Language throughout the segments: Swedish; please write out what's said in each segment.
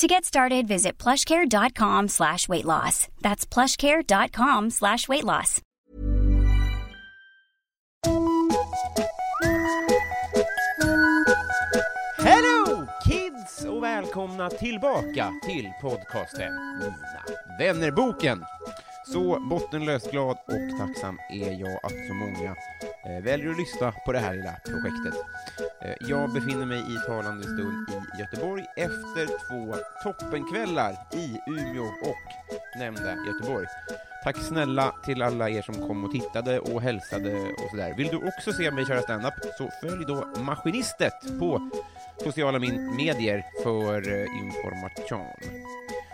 To get started, visit plushcare.com slash weight loss. That's plushcare.com slash weight loss. Hello kids och välkomna tillbaka till podcasten Mina vännerboken. Så bottenlöst glad och tacksam är jag att så många eh, väljer att lyssna på det här lilla projektet. Eh, jag befinner mig i talande stund i Göteborg efter två toppenkvällar i Umeå och nämnda Göteborg. Tack snälla till alla er som kom och tittade och hälsade och sådär. Vill du också se mig köra stand-up så följ då Maskinistet på sociala min- medier för eh, information.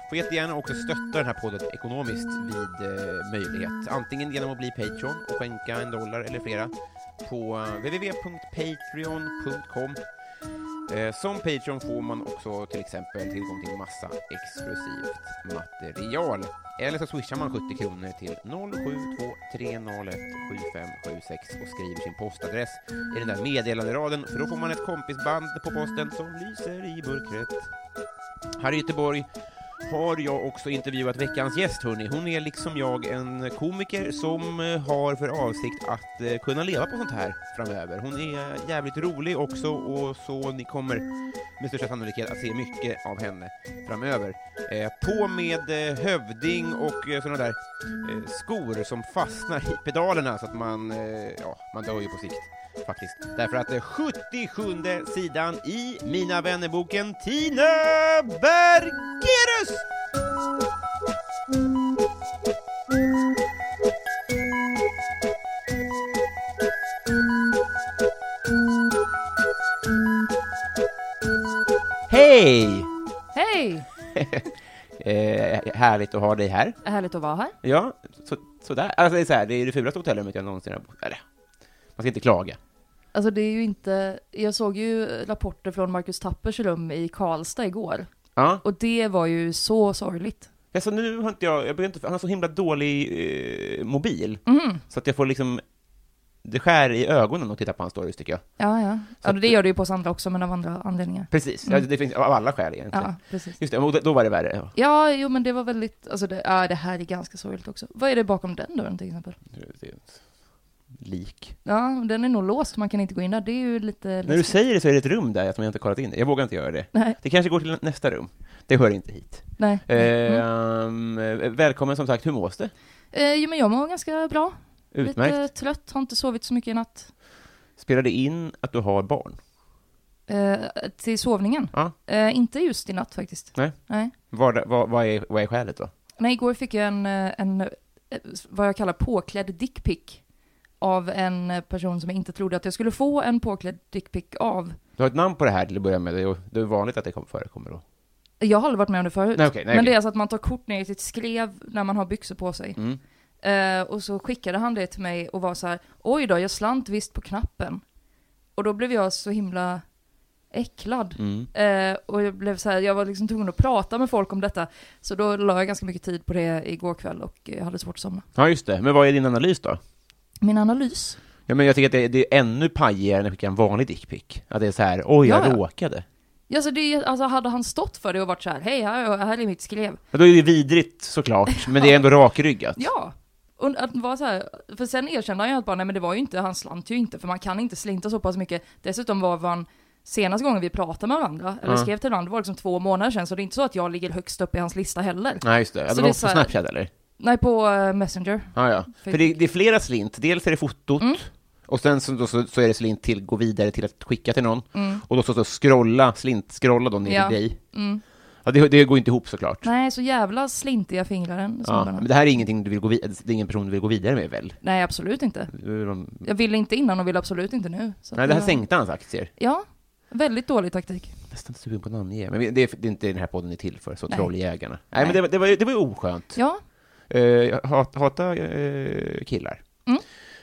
Får jättegärna också stötta den här podden ekonomiskt vid eh, möjlighet. Antingen genom att bli Patreon och skänka en dollar eller flera på eh, www.patreon.com. Eh, som Patreon får man också till exempel tillgång till massa exklusivt material. Eller så swishar man 70 kronor till 0723017576 och skriver sin postadress i den där meddelanderaden för då får man ett kompisband på posten som lyser i mörkret. Här i Göteborg har jag också intervjuat veckans gäst, hörni. Hon är liksom jag en komiker som eh, har för avsikt att eh, kunna leva på sånt här framöver. Hon är eh, jävligt rolig också och så ni kommer med största sannolikhet att se mycket av henne framöver. Eh, På med eh, hövding och eh, såna där eh, skor som fastnar i pedalerna så att man, eh, ja, man dör ju på sikt faktiskt. Därför att eh, 77 sidan i Mina vännerboken Tina Bergerus! Hej! Hej! Eh, härligt att ha dig här. Härligt att vara här. Ja, så, sådär. Alltså, det, är så här, det är det fulaste hotellrummet jag någonsin har bott Eller, man ska inte klaga. Alltså det är ju inte, jag såg ju rapporter från Marcus Tappers rum i Karlstad igår. Ja, Och det var ju så sorgligt. alltså nu har inte jag, jag blir inte, han har så himla dålig eh, mobil, Mhm. så att jag får liksom, det skär i ögonen att titta på hans stories tycker jag. Ja, ja. ja det gör det ju på oss andra också, men av andra anledningar. Precis, ja, det finns av alla skäl egentligen. Mm. Ja, precis. Just det, och då- då var det värre. Ja. Ja, jo men det var väldigt, alltså det, ja, det här är ganska sorgligt också. Vad är det bakom den dörren till exempel? Det är ett lik. Ja, den är nog låst, man kan inte gå in där. Det är ju lite... När du säger det så är det ett rum där som jag inte har kollat in det. Jag vågar inte göra det. Nej, Det kanske går till nästa rum. Det hör inte hit. nej. Mm. Ehm, Välkommen som sagt, hur mås det? Eh, jo men jag mår ganska bra. Utmärkt. Lite trött, har inte sovit så mycket i natt. Spelar det in att du har barn? Eh, till sovningen. Ja. Eh, inte just i natt faktiskt. Nej. Nej. Vad, vad, vad, är, vad är skälet då? Nej, igår fick jag en, eh, en eh, vad jag kallar påklädd dickpic av en eh, person som jag inte trodde att jag skulle få en påklädd dickpic av. Du har ett namn på det här till att börja med, det är- det är vanligt att det kom- förekommer då. Jag har aldrig varit med om det förut. Nej, okej, nej, men okej. det är alltså att man tar kort ner i sitt skrev när man har byxor på sig. Mm. Eh, och så skickade han det till mig och var så här, oj då, jag slant visst på knappen. Och då blev jag så himla äcklad. Mm. Eh, och jag blev så här, jag var liksom tvungen att prata med folk om detta. Så då la jag ganska mycket tid på det igår kväll och eh, jag hade svårt att somna. Ja, just det. Men vad är din analys då? Min analys? Ja, men jag tycker att det, det är ännu pajigare än att skicka en vanlig dickpic. Att det är så här, oj, jag Ja, ja. råkade. Ja, alltså, det, är- alltså hade han stått för det och varit så här, hej, här, här är mitt skrev. Ja, då är det vidrigt såklart, men det är ändå rakryggat. Ja. Och att vara så här, för sen erkände han ju att bara, nej men det var ju inte, han slant ju inte, för man kan inte slinta så pass mycket. Dessutom var han, senaste gången vi pratade med varandra, eller Ja. skrev till varandra, det var liksom två månader sedan, så det är inte så att jag ligger högst upp i hans lista heller. Nej, just det. Ja, Så det det var är på så här- Snapchat eller? Nej, på eh, Messenger. Ja, ja. För det, det är flera slint. Dels är det fotot, Mm. och sen så, då, så, så är det slint till gå vidare till att skicka till någon. Och då så, så scrolla, slint, scrolla då ner Mm. Ja. Mm. till dig. Ja, det, det går inte ihop såklart. Nej, så jävla slintiga fingrar den Ja, snubben. men det här är ingenting du vill gå vidare, det är ingen person du vill gå vidare med väl? Nej, absolut inte. Det är de- Jag ville inte innan och vill absolut inte nu. Så att Nej, det här var- sänkte hans aktier. Ja, väldigt dålig taktik. Nästan sugen på att namnge, men vi- det är, det är inte den här podden är till för, så Nej. trolljägarna. Nej, Nej. men det, var- det var ju det var ju oskönt. Ja, Eh, jag hat, hata eh, killar. Mm.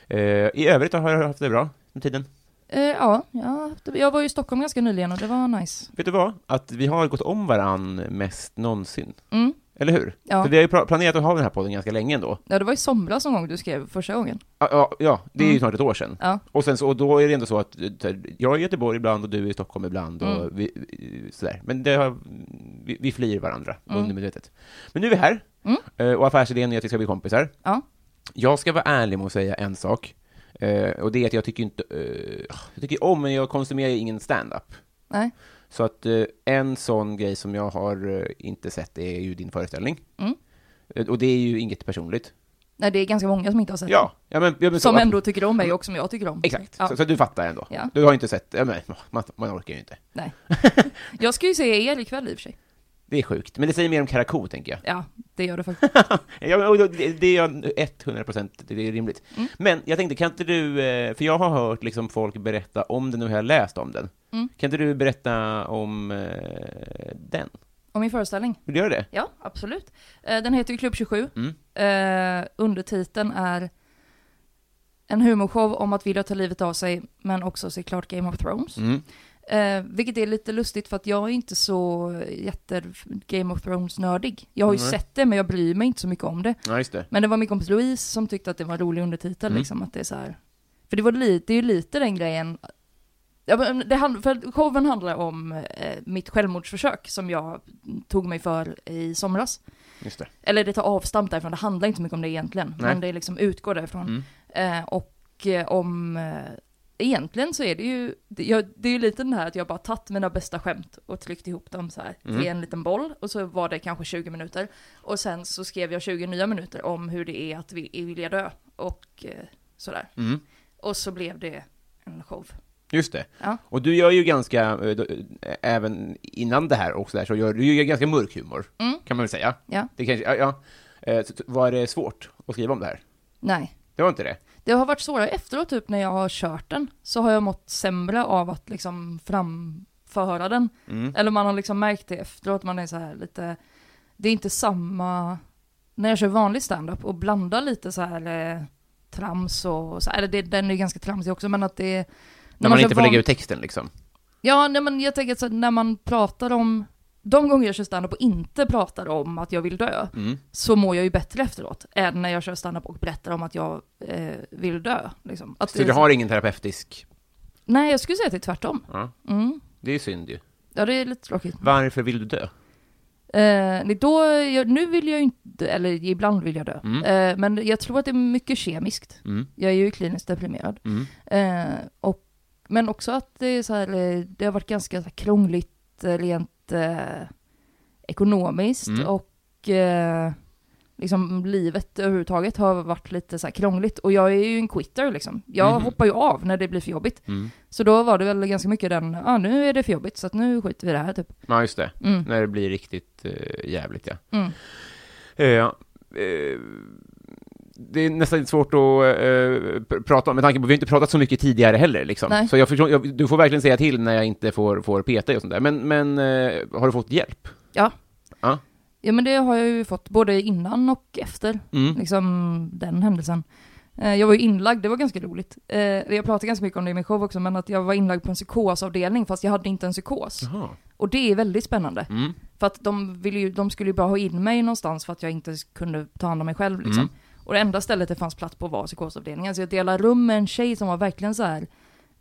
Eh, I övrigt har jag haft det bra med tiden. eh, ja, ja, jag var ju i Stockholm ganska nyligen och det var nice. Vet du vad? Att vi har gått om varann mest någonsin. Mm. Eller hur? Ja. För vi har ju pra- planerat att ha den här podden ganska länge ändå. Ja, det var i somras någon gång du skrev första gången. Ja, ja, ja det är ju snart ett år sedan. Mm. Ja. Och, sen så, och då är det ändå så att eh, så här, jag är i Göteborg ibland och du är i Stockholm ibland. Och Mm. vi, vi- sådär. Men det har, vi, vi flyr varandra, Mm. undermedvetet. Men nu är vi här, Eh, och affärsidén är att vi ska bli kompisar. Ja. Jag ska vara ärlig med att säga en sak. Eh, Och det är att jag tycker inte... eh, Jag tycker om, men jag konsumerar ju ingen stand-up. Nej. Så att eh, en sån grej som jag har eh, inte sett är ju din föreställning. Mm. Eh, Och det är ju inget personligt. Nej, det är ganska många som inte har sett Ja, ja men, ja, men den. så Som att- ändå tycker om mig och som jag tycker om. Exakt, Ja. så, så du fattar ändå. Ja. Du har inte sett, ja, men, man, man orkar ju inte. Nej. jag ska ju se er ikväll i och för sig. Det är sjukt, men det säger mer om Karakou, tänker jag. Ja, det gör det faktiskt. ja, men, och då- det, det är jag 100 procent, det är rimligt. Mm. Men jag tänkte, kan inte du, eh, för jag har hört liksom folk berätta om den och jag har läst om den. Mm. Kan inte du berätta om eh, den? Om min föreställning. Vill du göra det? Ja, absolut. Eh, Den heter ju Klubb 27. Mm. Eh, undertiteln är en humorshow om att vilja ta livet av sig, men också se klart Game of Thrones. Mm. Eh, vilket är lite lustigt för att jag är inte så jätte Game of Thrones-nördig. Jag har ju Mm. sett det, men jag bryr mig inte så mycket om det. Ja, just det. Men det var min kompis Louise som tyckte att det var en rolig undertitel, Mm. liksom att det är så här. För det, var lite, det är ju lite den grejen. Ja, men det hand, för att showen handlar om eh, mitt självmordsförsök som jag tog mig för i somras. Just det. Eller det tar avstamp därifrån, det handlar inte så mycket om det egentligen. Men det liksom utgår därifrån. Eh, och eh, om... Eh, egentligen så är det ju... Det, jag, det är ju lite den här att jag bara tagit mina bästa skämt och tryckt ihop dem så här till en liten boll. Och så var det kanske 20 minuter. Och sen så skrev jag 20 nya minuter om hur det är att vi, vilja dö. Och eh, sådär. Mm. Och så blev det en show. Just det. Ja. Och du gör ju ganska, eh, då, eh, även innan det här och så där, så gör du ju ganska mörk humor, Mm. kan man väl säga. Ja. Det kanske, ja, ja. Eh, så- så Var det svårt att skriva om det här? Nej. Det var inte det? Det har varit svårare efteråt, typ när jag har kört den, så har jag mått sämre av att liksom framföra den. Mm. Eller man har liksom märkt det efteråt, man är så här lite, det är inte samma, när jag kör vanlig standup och blandar lite så här eh, trams och så, eller det, den är ganska tramsig också, men att det är... När man, kör inte får van- lägga ut texten liksom. Ja, nej, men jag tänker att så här, när man pratar om, de gånger jag kör standup och inte pratar om att jag vill dö, Mm. så mår jag ju bättre efteråt, än när jag kör standup och berättar om att jag eh, vill dö. Liksom. Att Så det är du så- har ingen terapeutisk... Nej, jag skulle säga att det är tvärtom. Ja. Mm. Det är ju synd ju. Ja, det är lite tråkigt. Varför vill du dö? Eh, nej, då, jag, nu vill jag ju inte, eller ibland vill jag dö. Eh, men jag tror att det är mycket kemiskt. Mm. Jag är ju kliniskt deprimerad. Mm. Eh, och, men också att det är så här, eh, det har varit ganska så här krångligt eh, rent eh, ekonomiskt Mm. och eh, liksom livet överhuvudtaget har varit lite så här krångligt. Och jag är ju en quitter liksom. Jag Mhm. hoppar ju av när det blir för jobbigt. Mm. Så då var det väl ganska mycket den, ja ah, nu är det för jobbigt så att nu skiter vi i det här typ. Ja, just det. Mm. När det blir riktigt eh, jävligt, ja. Mm. Eh, ja. Eh, det är nästan lite svårt att eh, pr- prata om, med tanke på att vi har inte pratat så mycket tidigare heller. Liksom. Nej. Så jag förstår, jag, du får verkligen säga till när jag inte får, får peta i och sånt där. Men, men eh, har du fått hjälp? Ja. Ja. Ja men det har jag ju fått både innan och efter, Mm. liksom den händelsen. Eh, Jag var ju inlagd, det var ganska roligt. Eh, Jag pratade ganska mycket om det i min show också, men att jag var inlagd på en psykosavdelning fast jag hade inte en psykos. Jaha. Och det är väldigt spännande. Mm. För att de, ville ju, de skulle ju bara ha in mig någonstans för att jag inte kunde ta hand om mig själv liksom. Mm. Och det enda stället det fanns plats på var psykosavdelningen. Så jag delade rum med en tjej som var verkligen så här.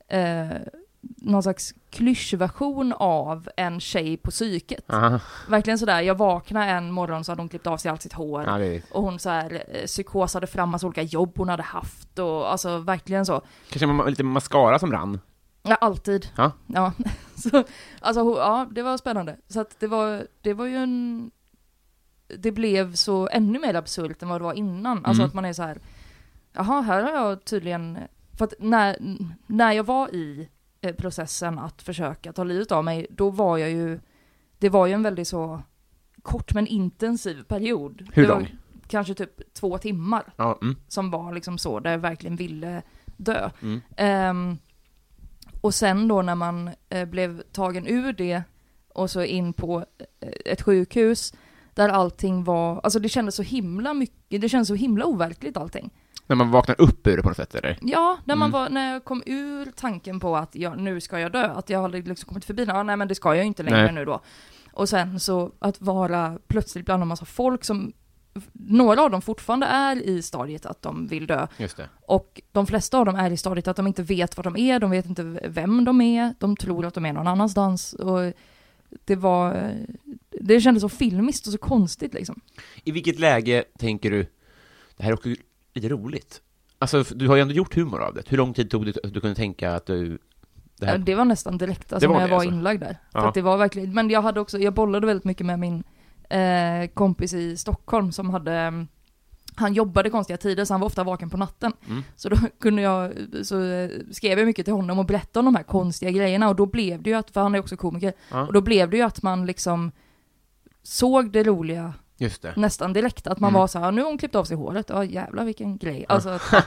Eh, någon slags klyschversion av en tjej på psyket. Aha. Verkligen sådär, jag vaknade en morgon så hade hon klippt av sig allt sitt hår. Ja, det är, Och hon så här, eh, psykosade fram massa olika jobb hon hade haft och alltså verkligen så. kanske man, lite mascara som rann. Ja, alltid. Ja. Ja, så, alltså, ho- ja det var spännande. Så att det var, det var ju en det blev så ännu mer absurt än vad det var innan. Alltså Mm. att man är så här, jaha, här har jag tydligen... För att när, när jag var i eh, processen att försöka ta livet av mig, då var jag ju... Det var ju en väldigt så kort men intensiv period. Hur Det var lång? Kanske typ två timmar Ja, mm. som var liksom så, där jag verkligen ville dö. Ehm, och sen då när man eh, blev tagen ur det och så in på eh, ett sjukhus där allting var, alltså det kändes så himla mycket, det kändes så himla overkligt allting. När man vaknar upp ur det på något sätt, eller? Ja, när, man Mm. var, när jag kom ur tanken på att jag, nu ska jag dö, att jag hade liksom kommit förbi, ja, nej men det ska jag ju inte längre Nej. nu då. Och sen så att vara plötsligt bland en massa folk som, några av dem fortfarande är i stadiet att de vill dö, Just det. och de flesta av dem är i stadiet att de inte vet vad de är, de vet inte vem de är, de tror att de är någon annanstans. Och det var... Det kändes så filmiskt och så konstigt liksom. I vilket läge tänker du, det här är också lite roligt? Alltså, f- du har ju ändå gjort humor av det. Hur lång tid tog det att du kunde tänka att du... Det här... Det var nästan direkt, alltså Det var när jag det, var alltså. inlagd där. Ja. För att det var verkligen, men jag hade också, jag bollade väldigt mycket med min eh, kompis i Stockholm som hade mm, han jobbade konstiga tider så han var ofta vaken på natten. Mm. Så då kunde jag, så eh, skrev jag mycket till honom och berättade om de här konstiga grejerna och då blev det ju att, för han är också komiker, Ja. och då blev det ju att man liksom såg det roliga Just det. nästan direkt, att Mm. man var så här, nu har hon klippt av sig håret, ja jävlar vilken grej. Alltså, att,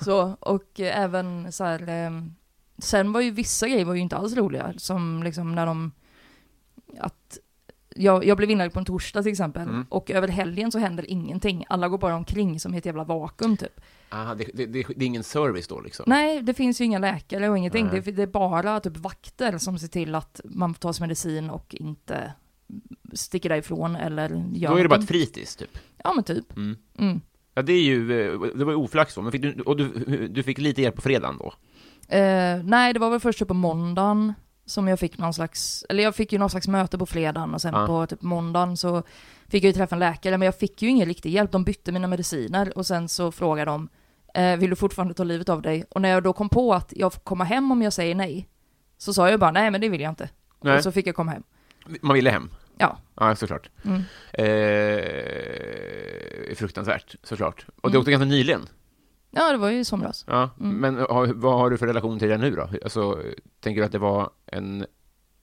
så, och eh, även så här, ehm, sen var ju vissa grejer var ju inte alls roliga, som liksom när de, att jag, jag blev inlagd på en torsdag till exempel, Mm. och över helgen så händer ingenting, alla går bara omkring som i ett jävla vakuum typ. Aha, det, det, det, det är ingen service då, liksom? Nej, det finns ju inga läkare och ingenting, Nej. det, det är bara typ vakter som ser till att man får ta sig medicin och inte sticker därifrån eller gör Då är det bara ett någonting. fritids, typ. Ja men typ. Mm. Ja, det är ju, eh, det var ju oflax då, men fick du, och du, du fick lite hjälp på fredagen då? Eh, nej, det var väl först typ på måndagen som jag fick någon slags, eller jag fick ju någon slags möte på fredagen och sen Ja. på typ måndagen så fick jag ju träffa en läkare, men jag fick ju ingen riktig hjälp. De bytte mina mediciner och sen så frågade de, eh, vill du fortfarande ta livet av dig? Och när jag då kom på att jag får komma hem om jag säger nej, så sa jag bara nej, men det vill jag inte. Nej. Och så fick jag komma hem. Man ville hem? Ja, Ja, såklart. Eh, fruktansvärt, såklart. Och det åkte ganska nyligen. ja det var ju i somras. Ja, men har, vad har du för relation till det nu då? Alltså, tänker du att det var en...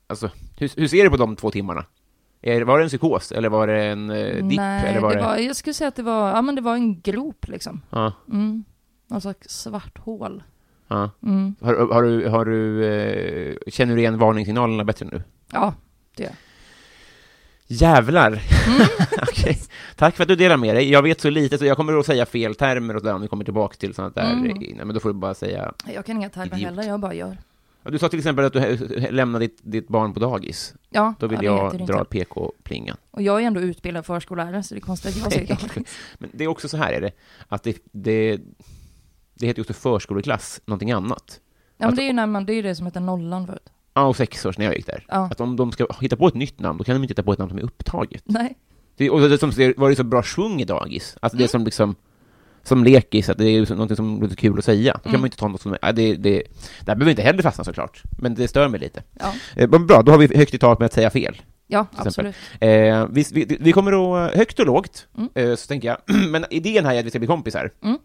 Alltså, hur, hur ser du på de två timmarna? Är, var det en psykos, eller var det en eh, dipp, nej, eller var det... det var, jag skulle säga att det var, ja men det var en grop liksom. Ja, Mm. Någon slags svart hål. ja. Mm. Har, har du... Har du eh, känner du igen varningssignalerna bättre nu? Ja, det gör jag. Jävlar! Mm. Okej. Tack för att du delar med dig. Jag vet så lite, så jag kommer att säga fel termer och sådär om vi kommer tillbaka till sånt där Mm. innan, men då får du bara säga... Jag kan inga termer Idiot. heller, jag bara gör. Ja, Du sa till exempel att du he- lämnade ditt, ditt barn på dagis. Ja, Då vill ja, det heter det jag dra inte. PK-plingan. Och jag är ändå utbildad förskollärare, så det är konstigt att jag säger dagis. Men det är också så här är det, att det, det, det heter ju också förskoleklass, någonting annat. Ja, men det är ju när man, det är ju det som heter nollan förut. Ja, och sexårs när jag gick där. Ja. Att om de ska hitta på ett nytt namn, då kan de inte hitta på ett namn som är upptaget. Nej. Det, och det som det var det så bra svung i dagis, alltså Mm. det som liksom, som lekis, att det är ju så- någonting som låter kul att säga. Då kan Mm. man ju inte ta något som, ja, det, det, det här behöver inte heller fastna såklart, men det stör mig lite. Ja, Eh, men bra, då har vi högt i tak med att säga fel. ja exempel. absolut. Eh, vi, vi, vi kommer att, högt och lågt, Mm. eh, så tänker jag, men idén här är att vi ska bli kompisar. Mm.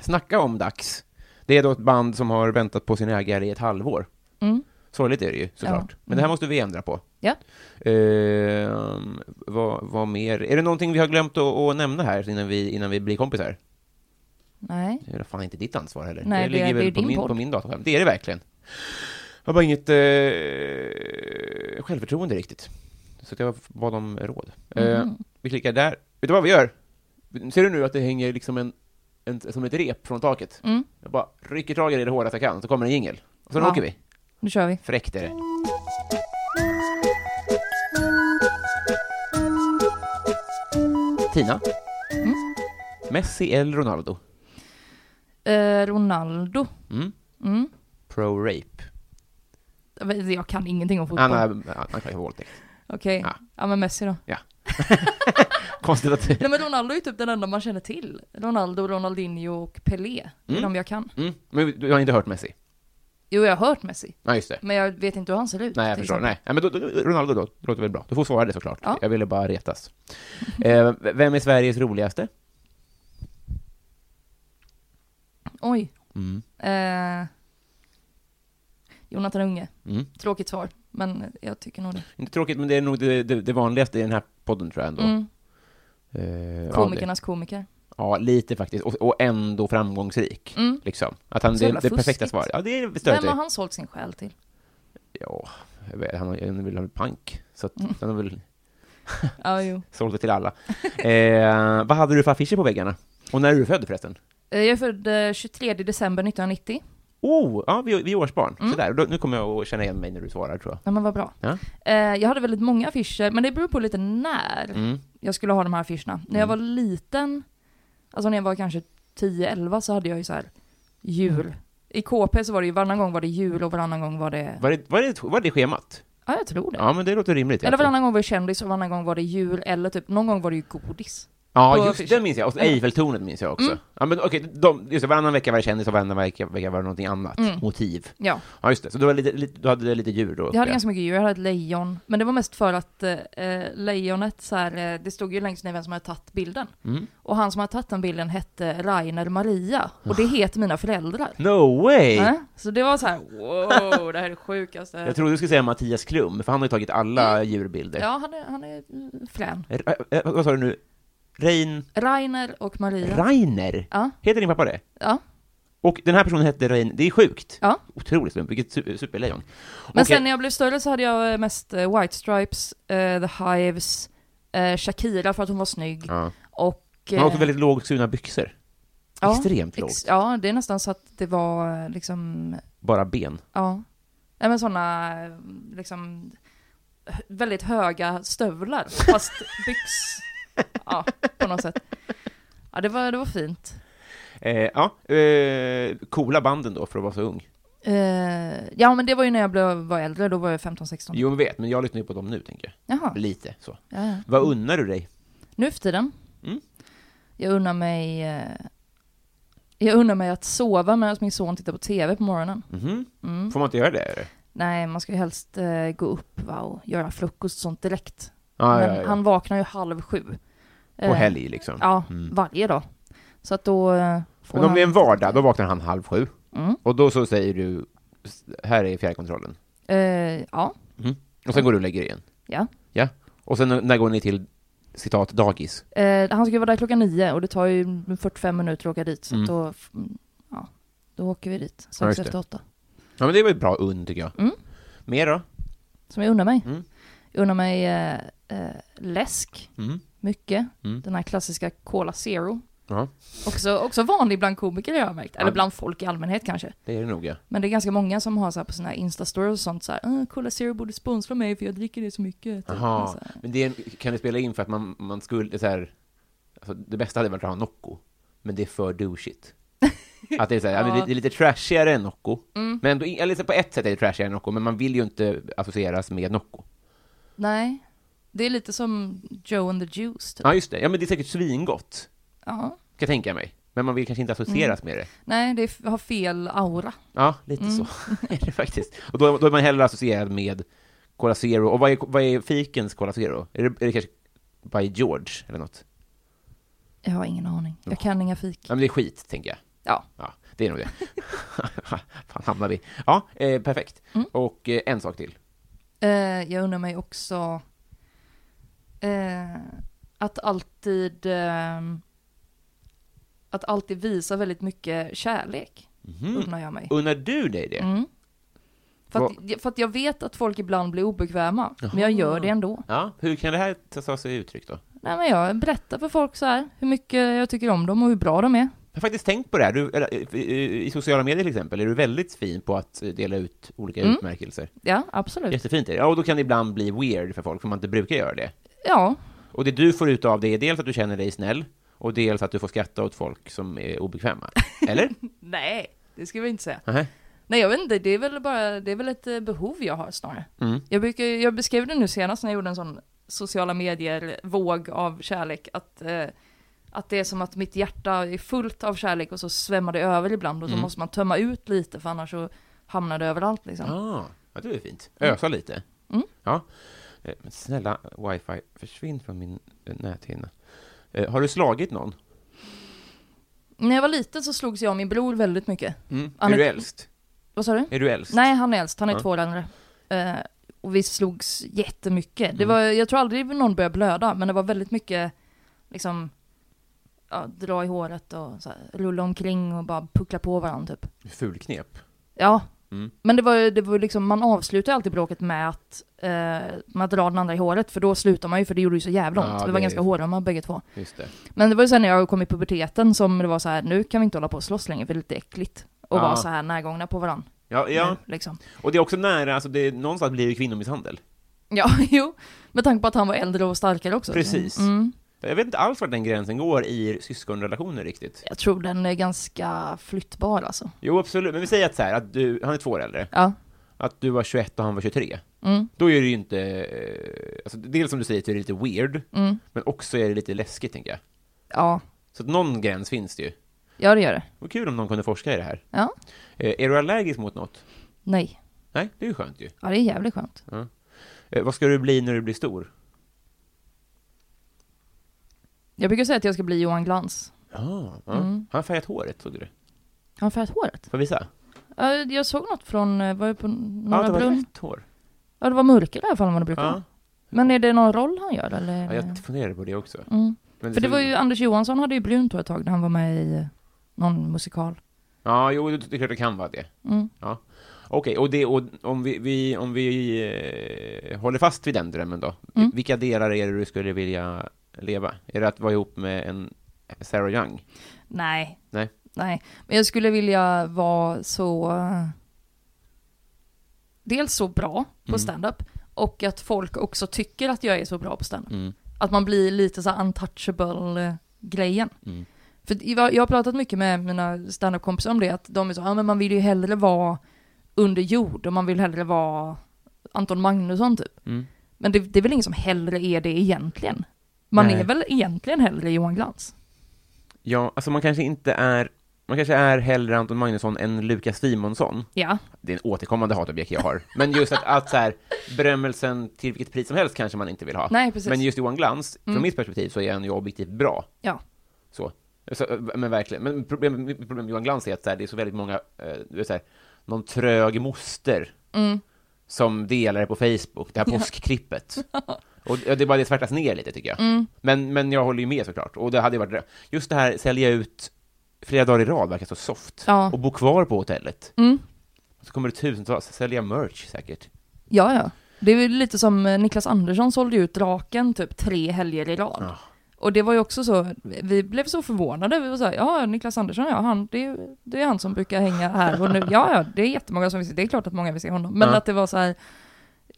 Snacka om Dags. Det är då ett band som har väntat på sin ägare i ett halvår. Mm. Sorgligt är det ju, såklart. Ja. Men det här måste vi ändra på. Ja. Eh, vad, vad mer? Är det någonting vi har glömt att, att nämna här innan vi, innan vi blir kompisar? Nej. Det är fan inte ditt ansvar heller. Nej, det- det är väl ju på din min, podd. på min dataskärm. Det är det verkligen. Jag har bara inget eh, självförtroende riktigt. Så att jag bad om råd. Eh, Mhm. vi klickar där. Vet du vad vi gör? Ser du nu att det hänger liksom en, en, som ett rep från taket? Mm. Jag bara rycker tag i det hårdast jag kan, så kommer en jingel. Och sen Ja. åker vi. Nu kör vi. Fräckt är det. Tina? Mm. Messi eller Ronaldo? Eh, Ronaldo. Mm. Mm. Pro-rape. Jag vet- Jag kan ingenting om fotboll. Ah, Han är anklagad för våldtäkt. Okej. Ja. Ja. men Messi då. Konstigt att... Nej men Ronaldo är ju typ den enda man känner till. Ronaldo, Ronaldinho och Pelé. Det är Mm. de jag kan. Mm. Men du har inte hört Messi? Jo, jag har hört Messi. Ja, just det. Men jag vet inte hur han ser ut. Nej, jag till förstår. exempel. Nej, Nej, men då, då, Ronaldo då. Det låter väl bra. Du får svara det såklart. Ja. Jag ville bara retas. Eh, v- vem är Sveriges roligaste? Oj. Mm. Eh, Jonathan Unge. Mm. Tråkigt svar, men jag tycker nog det. Inte tråkigt, men det är nog det, det, det vanligaste i den här podden tror jag ändå. Mm. Eh, ja, det- Komikernas komiker. Ja, lite faktiskt. Och, och ändå framgångsrik. Mm. Liksom. Att han, Så det, jävla det perfekta fuskigt. svaret. Ja, det är störigt. Vem har han sålt sin själ till? Ja, jag vet, han, har- han vill ha pank. Så att Mm. han har väl Ja, jo. sålt det till alla. Eh, vad hade du för affischer på väggarna? Och när är du född förresten? Eh, Jag är född eh, 23 december 1990. Oh, ja, vi, vi är årsbarn. Mm. Sådär, då, nu kommer jag att känna igen mig när du svarar tror jag. Ja, men vad bra. Ja. Eh, Jag hade väldigt många affischer, men det beror på lite när Mm. jag skulle ha de här affischerna. När jag var liten, alltså när jag var kanske 10-11 så hade jag ju så här jul. Mm. I KP så var det ju varannan gång var det jul och varannan gång var det, Var det, var det, var det schemat? ja jag tror det. Ja, men det låter rimligt. Eller egentligen. varannan gång var det kändis och varannan gång var det jul eller typ, någon gång var det ju godis. Ja, på just det affischen. Mm. minns jag. Och så Eiffeltornet minns jag också. Ja, men okej, de, just det, varannan vecka var det kändis och varannan vecka, vecka var det någonting annat. Motiv. Ja. Ja, just det. Så du, var lite, lite, du hade det lite djur då? Mm. Jag hade uppe. ganska mycket djur, jag hade ett lejon. Men det var mest för att eh, eh, lejonet så här, eh, det stod ju längst ner vem som hade tagit bilden. Mm. Och han som hade tagit den bilden hette Rainer Maria. Och Ah. det heter mina föräldrar. No way! Eh? Så det var så här, wow, det här är det sjukaste. Jag trodde du skulle säga Mattias Klum, för han har ju tagit alla djurbilder. Mm. Ja, han är, han är mm, frän. R- eh, vad sa du nu? Rein... Rainer och Maria. Reiner? Ja. Heter din pappa det? ja. Och den här personen hette Rein... Det är sjukt! Ja. Otroligt slump, vilket su- superlejon. Men Okej. sen när jag blev större så hade jag eh, mest eh, White Stripes, eh, The Hives, eh, Shakira för att hon var snygg. Ja. Och... Han har också eh, väldigt lågskurna byxor. ja, extremt lågt. ja, det är nästan så att det var eh, liksom Bara ben. Ja. Nej men sådana, liksom, hö- väldigt höga stövlar, fast byx... Ja, på något sätt. Ja, det var, det var fint. Eh, ja, eh, coola banden då, för att vara så ung. Eh, ja, men det var ju när jag blev, var äldre, då var jag 15-16. Jo, jag vet, men jag lyssnar ju på dem nu, tänker Jaha. jag. Lite så. Ja, ja. Vad unnar du dig? Nu för tiden. Mm. Jag unnar mig... eh, Jag unnar mig att sova medan min son tittar på TV på morgonen. Mm. Mhm. Får man inte göra det? eller? Nej, man ska ju helst eh, gå upp va, och göra frukost och sånt direkt. Ja, men Ah, ja, ja. han vaknar ju halv sju. På Eh, helg, liksom. Ja, varje dag. Så att då eh, får Men om han... det är en vardag, då vaknar han halv sju. Mm. Och då så säger du, "S- här är fjärrkontrollen. Eh, ja, Och sen går du och lägger dig igen. ja. Ja. Och sen när går ni till, citat, dagis? Eh, han ska ju vara där klockan nio och det tar ju 45 minuter att åka dit. Så Mm. att då, mm, ja, då åker vi dit Ja, just strax det. efter åtta. Ja, men det är väl ett bra unn, tycker jag. Mm. Mer då? Som jag undrar mig. Mm. Jag undrar mig eh, eh, läsk, Mm. mycket. Mm. Den här klassiska Cola Zero. Ja, Också, också vanlig bland komiker har jag märkt. Eller Ja. bland folk i allmänhet kanske. det är det nog, ja. Men det är ganska många som har så här på sina Insta-stories och sånt så här, "Ah, Cola Zero borde sponsra mig för jag dricker det så mycket. typ. Jaha, Så här. men det är- kan du spela in för att man, man skulle, så här, alltså, det bästa hade varit att ha Nocco, men det är för douchigt. Att det är, så här, ja. Mm. men det, det är lite trashigare än Nocco, men ändå, eller så på ett sätt är det trashigare än Nocco, men man vill ju inte associeras med Nocco. Nej. Det är lite som Joe and the Juice, typ. Ja, just det. Ja, men det är säkert svingott, Ja. kan jag tänka mig. Men man vill kanske inte associeras med det. Nej, det f- har fel aura. Ja, lite så är det faktiskt. Och då, då är man hellre associerad med Cola Zero. Och vad är, vad är fikens Cola Zero? Är det, är det kanske By George eller något? Jag har ingen aning. Jag kan inga fik. Ja, men det är skit, tänker jag. Ja. Ja, det är nog det. Fan hamnar vi. Ja, eh, perfekt. Och eh, en sak till. Eh, jag undrar mig också eh, att alltid ehm, att alltid visa väldigt mycket kärlek, undrar jag mig. Unnar du dig det? För att, för att jag vet att folk ibland blir obekväma, men jag gör det ändå. Ja, hur kan det här ta ta sig uttryck då? Nej, men jag berättar för folk så här, hur mycket jag tycker om dem och hur bra de är. Jag har faktiskt tänkt på det här. Du, eller, eh, i- I sociala medier till exempel är du väldigt fin på att eh, dela ut olika utmärkelser. Ja, absolut. Jättefint är det. Ja, och då kan det ibland bli weird för folk, för man inte brukar göra det. Ja, Och det du får ut av det är dels att du känner dig snäll, och dels att du får skratta åt folk som är obekväma. Eller? nej, det ska vi inte säga. Nähä. Nej jag vet inte, det är väl bara, det är väl ett eh, behov jag har snarare. Jag, brukar, jag beskrev det nu senast när jag gjorde en sån sociala medier-våg av kärlek, att, eh, att det är som att mitt hjärta är fullt av kärlek och så svämmar det över ibland och så måste man tömma ut lite för annars så hamnade överallt liksom. Ah, ja, det är fint. Ösa lite. Mm. Ja. Eh, Men snälla, wifi, försvinn från min eh, näthinna. Eh, har du slagit någon? När jag var liten så slogs jag och min bror väldigt mycket. Mm. Ja, men- Är du äldst? Vad sa du? Är du äldst? Nej, han är äldst. Han är Ja. två år äldre. Eh, och vi slogs jättemycket. Mm. Det var, jag tror aldrig någon började blöda, men det var väldigt mycket liksom, ja, dra i håret och så här, rulla omkring och bara puckla på varandra typ. Fulknep. Ja. Mm. Men det var ju det var ju liksom, man avslutar ju alltid bråket med att, eh, med att dra den andra i håret, för då slutar man ju, för det gjorde ju så jävla ont. Ja, vi det var är- ganska hårömma bägge två. Just det. Men det var ju sen när jag kom i puberteten som det var så här, nu kan vi inte hålla på och slåss längre, för det är lite äckligt. Och Ja. vara så här närgångna på varandra. Ja, ja. Nu, liksom. och det är också nära, alltså det, är- någonstans blir det kvinnomisshandel. Ja, jo. Med tanke på att han var äldre och starkare också. Precis. Mm. Jag vet inte alls var den gränsen går i syskonrelationer riktigt. Jag tror den är ganska flyttbar alltså. Jo, absolut, men vi säger att så här, att du, han är två år äldre, Ja. att du var 21 och han var 23. Mm. Då är det ju inte, eh, alltså, dels som du säger, att det är lite weird, Mm. men också är det lite läskigt, tänker jag. Ja. Så att någon gräns finns det ju. Ja, det gör det. Vad kul om någon kunde forska i det här. Ja. Eh, är du allergisk mot något? Nej. Nej, det är ju skönt ju. Ja, det är jävligt skönt. Eh, vad ska du bli när du blir stor? Jag brukar säga att jag ska bli Johan Glans. Ja, ja. Mm. han har färgat håret, såg du det? Har han färgat håret? Får jag visa? Ja, Jag såg något från, eh, var det på Ja, Norra det var Brunn? rätt hår. Ja, det var mörkare i alla fall än vad det brukar Ja. vara. Men är det någon roll han gör eller? Ja, jag funderade på det också. Mm. Men För det var ju, Anders Johansson hade ju brunt hår ett tag när han var med i eh, någon musikal. Ja, jo, det, det är klart det kan vara det. Mm. Ja. Okej, och, det, och om vi, vi, om vi eh, håller fast vid den drömmen då. Mm. Vilka delar är det du skulle vilja leva? Är det att vara ihop med en Sarah Young? Nej. Nej. Nej. Men jag skulle vilja vara så... eh, Dels så bra på Mm. stand-up och att folk också tycker att jag är så bra på stand-up. Mm. Att man blir lite så här untouchable-grejen. Mm. För jag jag har pratat mycket med mina standup-kompisar om det, att de är så, ja men man vill ju hellre vara under jord och man vill hellre vara Anton Magnusson typ. Mm. Men det, det är väl ingen som hellre är det egentligen? Man Nej. är väl egentligen hellre Johan Glans? Ja, alltså man kanske inte är... Man kanske är hellre Anton Magnusson än Lukas Simonsson. Ja. Det är en återkommande hatobjekt jag har. Men just att, att så här, berömmelsen till vilket pris som helst kanske man inte vill ha. Nej, precis. Men just Johan Glans, Mm. från mitt perspektiv, så är han ju objektivt bra. Ja. Så. så eh, men verkligen. Men problemet mitt problem med Johan Glans är att så här, det är så väldigt många, eh, du vet så här, någon trög moster Mm. som delar det på Facebook, det här påskklippet. Och det det är bara det svärtas ner lite tycker jag. Mm. Men, men jag håller ju med såklart. Och det hade ju varit det. Just det här sälja ut flera dagar i rad verkar så soft. Ja. Och bo kvar på hotellet. Mm. Så kommer det tusentals, sälja merch säkert. Ja, ja. Det är väl lite som eh, Niklas Andersson sålde ut draken typ tre helger i rad. Ja. Och det var ju också så, vi blev så förvånade, vi var såhär, ja Niklas Andersson, ja han, det, är- det är han som brukar hänga här och nu, ja ja, det är jättemånga som vill se, det är klart att många vill se honom, men Ja. att det var så här,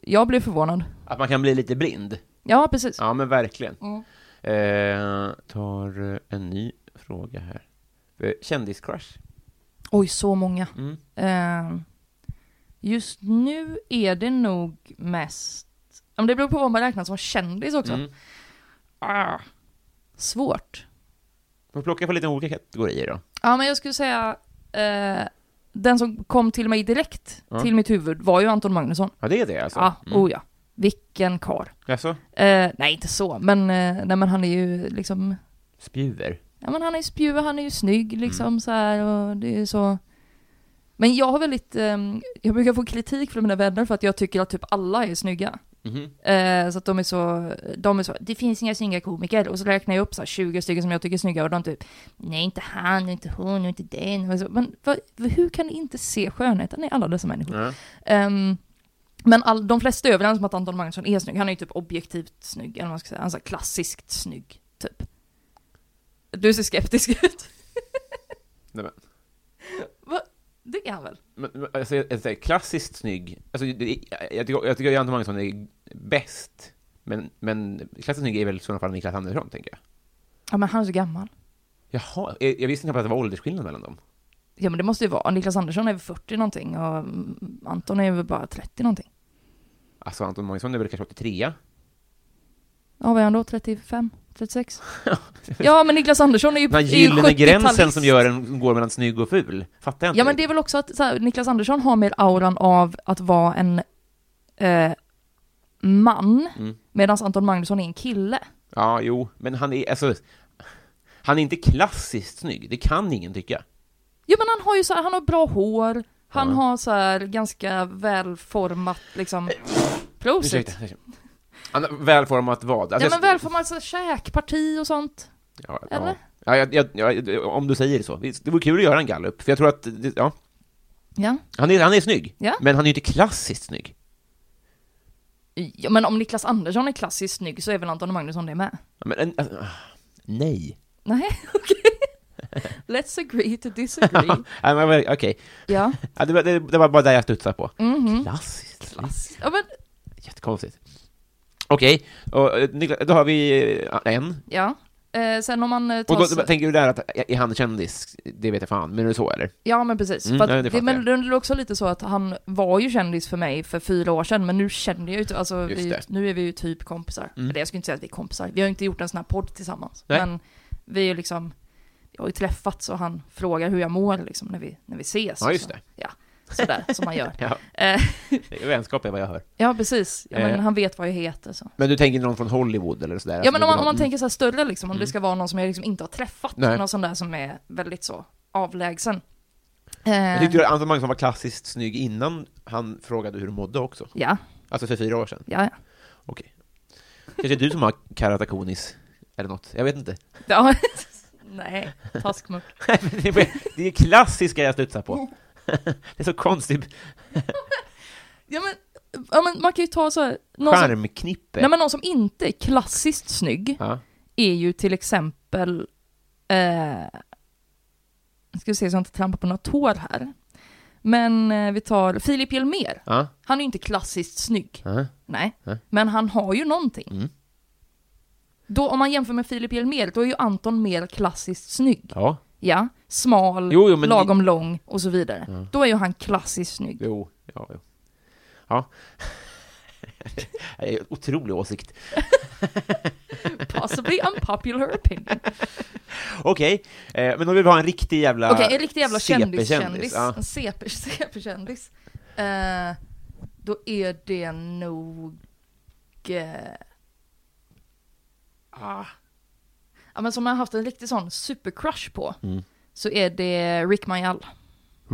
jag blev förvånad. Att man kan bli lite blind. Ja, precis. Ja, men verkligen. Mm. Eh, tar eh, en ny fråga här. Eh, Kändiscrush? Oj, så många. Mm. Eh, just nu är det nog mest, ja, men det beror på vad man räknar som kändis också. Mm. Ah, svårt. Får plocka på lite olika kategorier då. Ja, men jag skulle säga, eh, den som kom till mig direkt Ja. till mitt huvud var ju Anton Magnusson. Ja, det är det alltså? Ja, Mm. oh ja. Vilken karl. Alltså, Eh, nej, inte så, men, eh, nej, men han är ju liksom, spjuver? ja men han är ju spjuver, han är ju Mm. snygg liksom så här och det är så. Men jag har väldigt, ehm, jag brukar få kritik från mina vänner för att jag tycker att typ alla är snygga. Mhm. Eh, så att de är så, de är så, det finns inga snygga komiker. Och så räknar jag upp så här 20 stycken som jag tycker är snygga och de typ, nej inte han, och inte hon, och inte den. Och så, men vad, hur kan ni inte se skönheten i alla dessa människor? Ja. Ehm, men all, de flesta är överens om att Anton Magnusson är snygg. Han är ju typ objektivt snygg, eller vad man ska säga. Han är så här klassiskt snygg, typ. Du ser skeptisk ut. Nej, men, Va? Det är han väl? men, men, alltså, jag, jag, säger, klassiskt snygg. Alltså, det, jag, jag tycker, jag tycker Anton Magnusson är bäst. Men, men klassiskt snygg är väl i sådana fall Niklas Andersson, tänker jag. Ja men han är så gammal. Jaha, eh, jag, jag visste inte att det var åldersskillnad mellan dem. Ja men det måste ju vara, Niklas Andersson är väl 40 någonting och mm, Anton är väl bara 30 någonting. Alltså, Anton Magnusson är väl kanske 83? Ja vad är han då, 35? 36. ja, men Niklas Andersson är ju Den här är ju gyllene gränsen 70-talist. som gör en, som går mellan snygg och ful. Fattar jag inte. Ja, men det är väl också att så här, Niklas Andersson har mer auran av att vara en eh, man, Mm. medan Anton Magnusson är en kille. Ja, jo, men han är, alltså, han är inte klassiskt snygg. Det kan ingen tycka. Jo, men han har ju så här, han har bra hår, han har så här ganska välformat liksom... Prosit! Eh, Ursäkta. ursäkta. Han har välformat vad? Ja, Alltså, men välformat så här, käkparti och sånt. Ja, Eller? Ja, jag, jag, jag, om du säger så. Visst, Det vore kul att göra en gallup, för jag tror att, det- ja, Ja. han är, han är snygg, Ja. men han är ju inte klassiskt snygg. ja, men om Niklas Andersson är klassiskt snygg så är väl Anton Magnusson det med? Ja, Men, en- alltså, nej. Nej, okej. Let's agree to disagree. Nej, men Okej, ja. ja, det, var- det, det var bara där jag studsade på. Mhm. Klassiskt. ja, men, Jättekonstigt. Okej, och, eh, Niklas, då har vi eh, en. ja. Eh, sen om man eh, tar... Och då sig- tänker du där att, är han kändis? Det vet jag fan, men är det så eller? Ja men precis. Mm, för att nej, det det fattar men det är också lite så att han var ju kändis för mig för fyra år sedan, men nu känner jag ju inte, alltså Just vi, det. nu är vi ju typ kompisar. Mm. Eller jag skulle inte säga att vi är kompisar, vi har ju inte gjort en sån här podd tillsammans. Nej. Men vi är ju liksom, jag har ju träffats och han frågar hur jag mår liksom när vi, när vi ses. Ja, just Så, det. ja, sådär som man gör. Ja, Eh, det är vänskap är vad jag hör. ja precis, ja, Eh. men han vet vad jag heter så. Men du tänker någon från Hollywood eller sådär? Alltså, Ja men om man, Någon- om man tänker så här större liksom, om det ska vara någon som jag liksom inte har träffat, Mm. Nej. någon sån där som är väldigt så avlägsen. Jag Eh, tyckte ju att Anton Magnusson var klassiskt snygg innan han frågade hur du mådde också. ja, Alltså för fyra år sedan. ja, ja. Okej. Kanske du som har karatakonis, eller något. Jag vet inte. Ja. Nej, taskmuck. Det är- det är klassiska jag studsar på. Det är så konstigt. Ja men, ja, men man kan ju ta så här, någon som, Charmknippe. nej, men någon som inte är klassiskt snygg Ja. är ju till exempel, eh, ska vi se så jag inte trampar på några tår här. Men eh, vi tar Filip Hjelmér. Ja. Han är ju inte klassiskt snygg. Ja. Nej. Nej. Mm. Men han har ju någonting. Då, om man jämför med Filip Hjelmér, då är ju Anton mer klassiskt snygg. ja. Ja, smal, Jo, jo, men- lagom lång och så vidare. Då är ju han klassiskt snygg. Jo. Ja. Jo. ja. Det är en Otrolig åsikt. Possibly Alltså, unpopular opinion. Okej, eh, men då vill vi ha en riktig jävla Okej, en riktig jävla CP-kändis. kändis-kändis. Ja. En CP CP-kändis. Eh, då är det nog... eh, ah. Ja, men som jag har haft en riktig sån supercrush på, Mm. så är det Rick Mayall.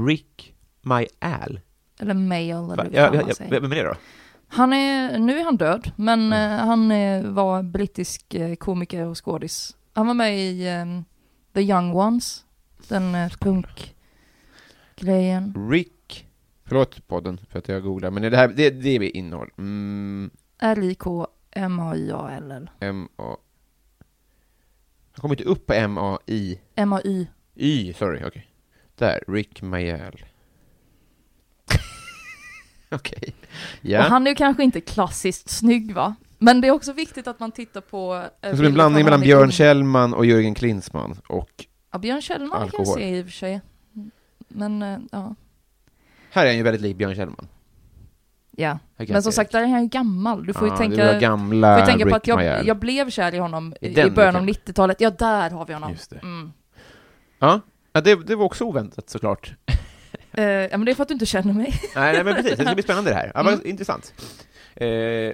Rick My Al. Eller Mayall, eller Va? hur Ja, fan ja, man ja, säger. vem är det då? Han är, nu är han död, men Mm. eh, han eh, var brittisk eh, komiker och skådis. Han var med i ehm, The Young Ones, den eh, punkgrejen. Rick... Förlåt podden för att jag googlar, men det här, det, det är innehåll. Mm, R-I-K-M-A-I-A-L-L. M-A... Jag kommer inte upp på M-A-I... M-A-Y. Y, sorry, okej. Där, Rick Mayall. okej. Ja. Och han är ju kanske inte klassiskt snygg va? Men det är också viktigt att man tittar på... eh, Som bilder en blandning mellan från honom i Björn ung- Kjellman och Jörgen Klinsmann och Ja, Björn Kjellman kan Alkohol. jag se i och för sig. Men, eh, ja. Här är han ju väldigt lik Björn Kjellman. Ja. Här kan Men som jag- sagt, där är han ju gammal. Du får ju Ja, tänka... det var gamla Får jag tänka Rick på att jag, Mayall. jag blev kär i honom I i, Äh, den i början av Rick 90-talet. Ja, där har vi honom. Just det. Mm. Ja, ja det, det var också oväntat såklart. Eh, ja, men det är för att du inte känner mig. Nej, nej men precis, det ska bli spännande det här. Ja, vad Mm. Intressant. Eh,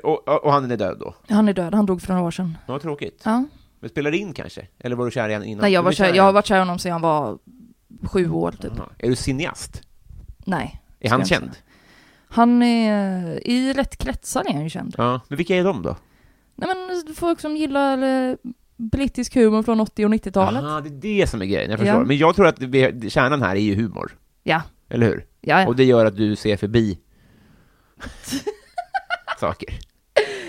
och, och och han är död då. Han är död, han dog för några år sedan. Vad tråkigt. Ja. Men spelar det in kanske? Eller var du kär i henne innan? Nej, jag, Du var blev i kär, jag henne? har varit kär i honom sedan jag var sju år typ. Jaha. Är du cineast? Nej. Är han ska jag inte känd? säga. Han är, eh, i rätt kretsar är han ju känd. Ja. Men vilka är de då? Nej men folk som gillar eh, brittisk humor från 80 och 90-talet. Aha, det är det som är grejen, jag förstår. Ja. Men jag tror att vi, kärnan här är ju humor, Ja, Eh. eller hur? ja, ja. Och det gör att du ser förbi saker.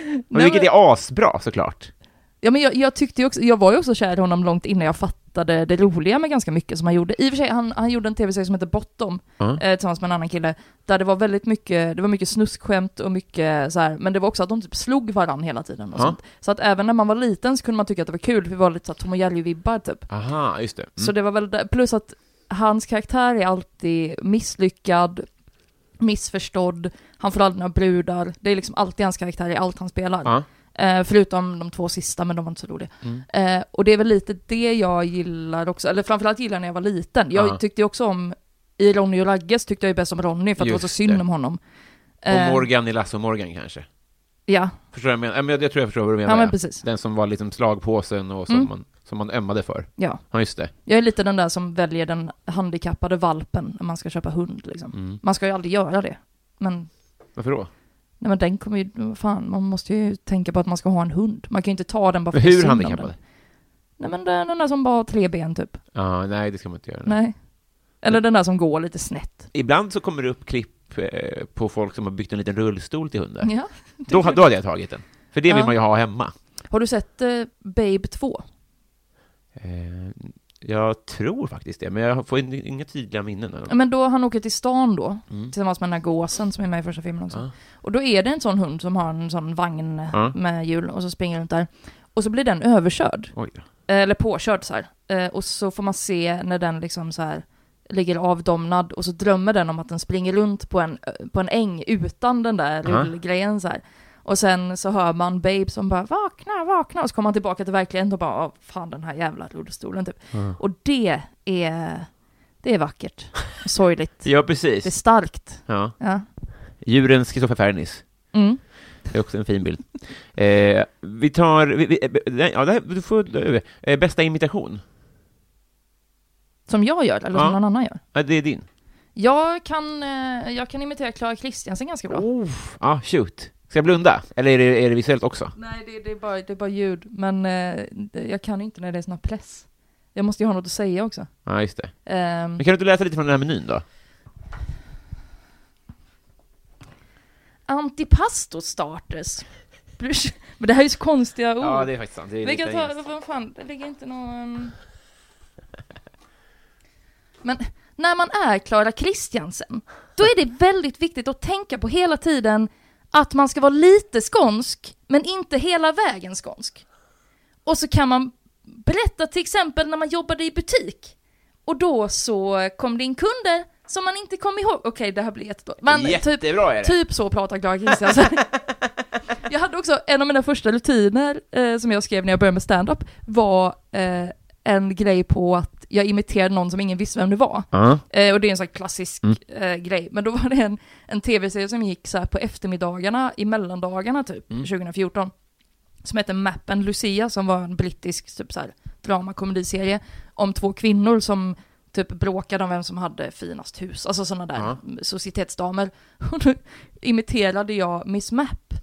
Men Nej, vilket men- är asbra såklart. ja men jag, jag tyckte ju också, jag var ju också kär i honom långt innan jag fattade det roliga med ganska mycket som han gjorde. I och för sig, han, han gjorde en tv-serie som heter Bottom, Ja. eh, tillsammans med en annan kille, där det var väldigt mycket, det var mycket snuskskämt och mycket så här, men det var också att de typ slog varandra hela tiden och Ja. sånt. Så att även när man var liten så kunde man tycka att det var kul, för vi var lite såhär Tom och Jerry-vibbar typ. Aha, just det. Mm. Så det var väl där, plus att hans karaktär är alltid misslyckad, missförstådd, han får aldrig några brudar, det är liksom alltid hans karaktär i allt han spelar. Ja. Eh, förutom de två sista, men de var inte så roliga. Mm. Eh, och det är väl lite det jag gillar också, eller framförallt gillar när jag var liten. Jag Ja. tyckte ju också om, i Ronny och Ragges tyckte jag ju bäst om Ronny för att det var så Just synd det. om honom. Och Eh, Morgan i Lasse och Morgan kanske? Ja, Förstår jag, men, jag, jag tror jag förstår vad du menar. Ja, men precis. Mm. Den som var liksom slagpåsen och som, man, som man ömmade för. ja. Ja, just det. Jag är lite den där som väljer den handikappade valpen när man ska köpa hund liksom. Man ska ju aldrig göra det. Men, Varför då? nej, men den kommer ju, vad fan, man måste ju tänka på att man ska ha en hund. Man kan ju inte ta den bara för Men att det är synd hur om handikappad? den. Nej men den, den där som bara har tre ben typ. Ja, nej, det ska man inte göra. Nej. Eller den där som går lite snett. Ibland så kommer det upp klipp eh, på folk som har byggt en liten rullstol till hundar. Ja. Då, ha- då hade jag tagit den. För det vill Mm. Ja. man ju ha hemma. Har du sett eh, Babe 2? Eh, jag tror faktiskt det, men jag får in- inga tydliga minnen. av Ja, dem. men då han åker till stan då, tillsammans med den här gåsen som är med i första filmen också. Och då är det en sån hund som har en sån vagn Ja. med hjul och så springer runt där. Och så blir den överkörd. Oj då. Eh, eller påkörd så här. Eh, Och så får man se när den liksom så här ligger avdomnad och så drömmer den om att den springer runt på en, eh, på en äng utan den där Aha. rullgrejen så här. Och sen så hör man Babe som bara vakna, vakna och så kommer han tillbaka till verkligheten och bara "Åh, fan den här jävla rullstolen typ. Och det är, det är vackert, och sorgligt, Ja, det är precis. starkt. Ja. Ja. Djurens Christopher Fernis. Mm. Det är också en fin bild. Eh, vi tar... Vi, vi, eh, nej, ja, det här, du får, eh, bästa imitation. Som jag gör eller Ja. som någon annan gör. Ja, det är din. Jag kan, eh, jag kan imitera Clara Kristiansen ganska bra. Oh, ja, shoot. Ska jag blunda? Eller är det, är det visuellt också? Nej, det, det, är bara, det är bara ljud. Men eh, det- jag kan ju inte när det är sån här press. Jag måste ju ha något att säga också. Ja, just det. Ehm, Men kan du inte läsa lite från den här menyn då? antipasto starters. Blush. Men det här är ju så konstiga ord. Ja, det är faktiskt sant. Det är Vi kan lite ta, engelskt. vad fan, det ligger inte någon... ehm. Men när man är Clara Kristiansen, då är det väldigt viktigt att tänka på hela tiden att man ska vara lite skånsk, men inte hela vägen skånsk. Och så kan man berätta till exempel när man jobbade i butik, och då så kom det in kunder som man inte kom ihåg. Okej, det här blir jättedåligt. Men typ, Jättebra är det. Typ så pratar Clara Kristiansen. jag hade också, en av mina första rutiner eh, som jag skrev när jag började med stand-up var eh, en grej på att jag imiterade någon som ingen visste vem det var. Ja. Eh, och det är en sån här klassisk Mm. eh, grej. Men då var det en, en tv-serie som gick så här på eftermiddagarna, i mellandagarna typ, Mm. 2014. Som hette Mappen Lucia, som var en brittisk typ så här dramakomediserie om två kvinnor som typ bråkade om vem som hade finast hus, alltså sådana där Ja. societetsdamer. Och då imiterade jag Miss Mapp.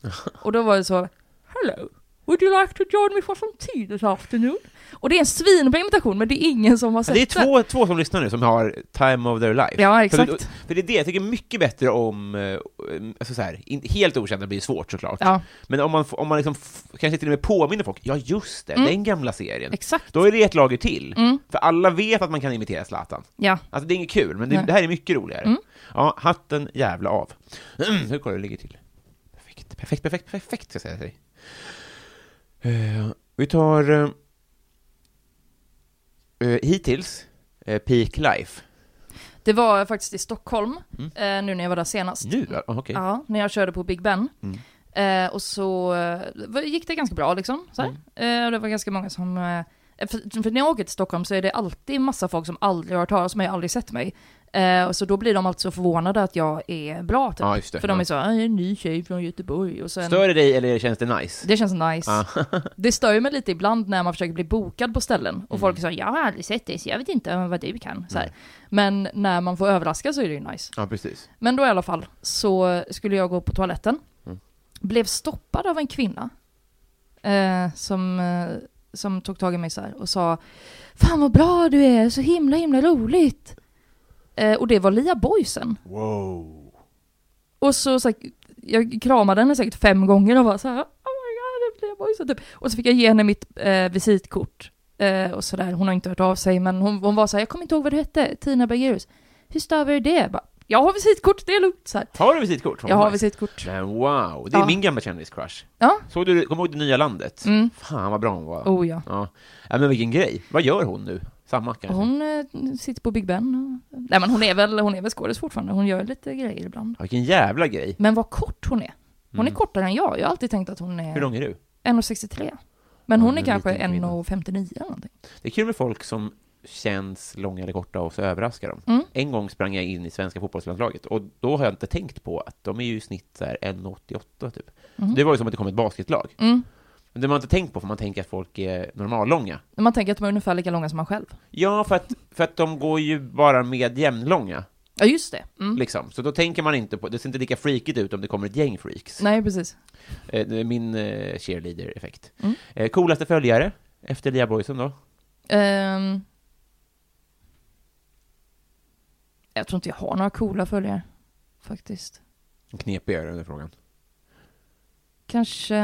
Och då var det så, hello, would you like to join me for some tea this afternoon? Och det är en svinbra imitation, men det är ingen som har sett Det är två, två som lyssnar nu som har time of their life. Ja, För, exakt. för det är det jag tycker mycket bättre om, eh, alltså så här, in, helt okända blir svårt såklart. Ja. Men om man, f- om man liksom f- kanske till och med påminner folk, ja just det, den gamla serien. Mm. Exakt. Då är det ett lager till. Mm. För alla vet att man kan imitera Zlatan. Ja. Alltså det är inget kul, men det, Nej. Mm. det här är mycket roligare. Ja, hatten jävla av. Hur kollar det ligger till? Perfekt, perfekt, perfekt, perfekt ska jag säga till dig. Eh, vi tar... eh, eh, hittills, eh, Peak Life. Det var faktiskt i Stockholm, eh, nu när jag var där senast. Mm. Nu? ja, Okej. Mm. Ja, alltså när jag körde på Big Ben. Eh, och så eh, var- gick det ganska bra liksom. Så här. Mm. Eh, och det var ganska många som... Eh, för, för när jag åker till Stockholm så är det alltid massa folk som aldrig har hört talas om mig, aldrig sett mig. Eh, och så då blir de alltid så förvånade att jag är bra typ. Ja, just det. för de Ja. är så, "Ah, jag är en ny tjej från Göteborg. Och sen, Stör det dig eller känns det nice? det känns nice. det stör ju mig lite ibland när man försöker bli bokad på ställen. Och folk säger jag har aldrig sett dig så jag vet inte vad du kan. Så här. Men när man får överraska så är det ju nice. Ja, precis. Men då i alla fall så skulle jag gå på toaletten. Blev stoppad av en kvinna. Eh, som, eh, som tog tag i mig så här och sa Fan vad bra du är, så himla himla roligt. Eh, och det var Lia Boysen. Och så, så här, jag kramade henne säkert fem gånger och var så här Oh my god, det är Lia Boysen typ. Och så fick jag ge henne mitt eh, visitkort. Eh, och sådär, hon har inte hört av sig men hon, hon var så här, jag kommer inte ihåg vad du hette, Tina Bergerus. Hur stavar du det? Jag, bara, jag har visitkort, det är lugnt. Så här. Har du visitkort? Jag har Nice. visitkort. Men wow, det är Ja. min gamla kändiscrush. Ja, Såg du, kommer du ihåg det nya landet? Mm. Fan vad bra hon var. oh ja. Ja. ja, men vilken grej. Vad gör hon nu? Samma kanske? Hon eh, sitter på Big Ben. och- Nej men hon är väl, hon är väl skådis fortfarande, hon gör lite grejer ibland. Ja, vilken jävla grej. Men vad kort hon är. Hon är kortare än jag, jag har alltid tänkt att hon Mm. Hur är... lång är du? 1,63. Men Ja, hon det är är kanske liten kvinna. 1,59 eller någonting. Det är kul med folk som känns långa eller korta och så överraskar de. Mm. En gång sprang jag in i svenska fotbollslandslaget och då har jag inte tänkt på att de är ju i snitt så här 1,88 typ. Mhm. Det var ju som att det kom ett basketlag. Mm. Men det har man inte tänkt på för man tänker att folk är normallånga. När man tänker att de är ungefär lika långa som man själv. Ja, för att, för att de går ju bara med jämnlånga, Ja, just det. Mm. liksom. Så då tänker man inte på, det ser inte lika freakigt ut om det kommer ett gäng freaks. Nej, precis. Eh, det är min eh, cheerleader-effekt. Mm. Eh, coolaste följare, efter Lia Boysen då? Ehm. jag tror inte jag har några coola följare, faktiskt. Knepig är den frågan. Kanske...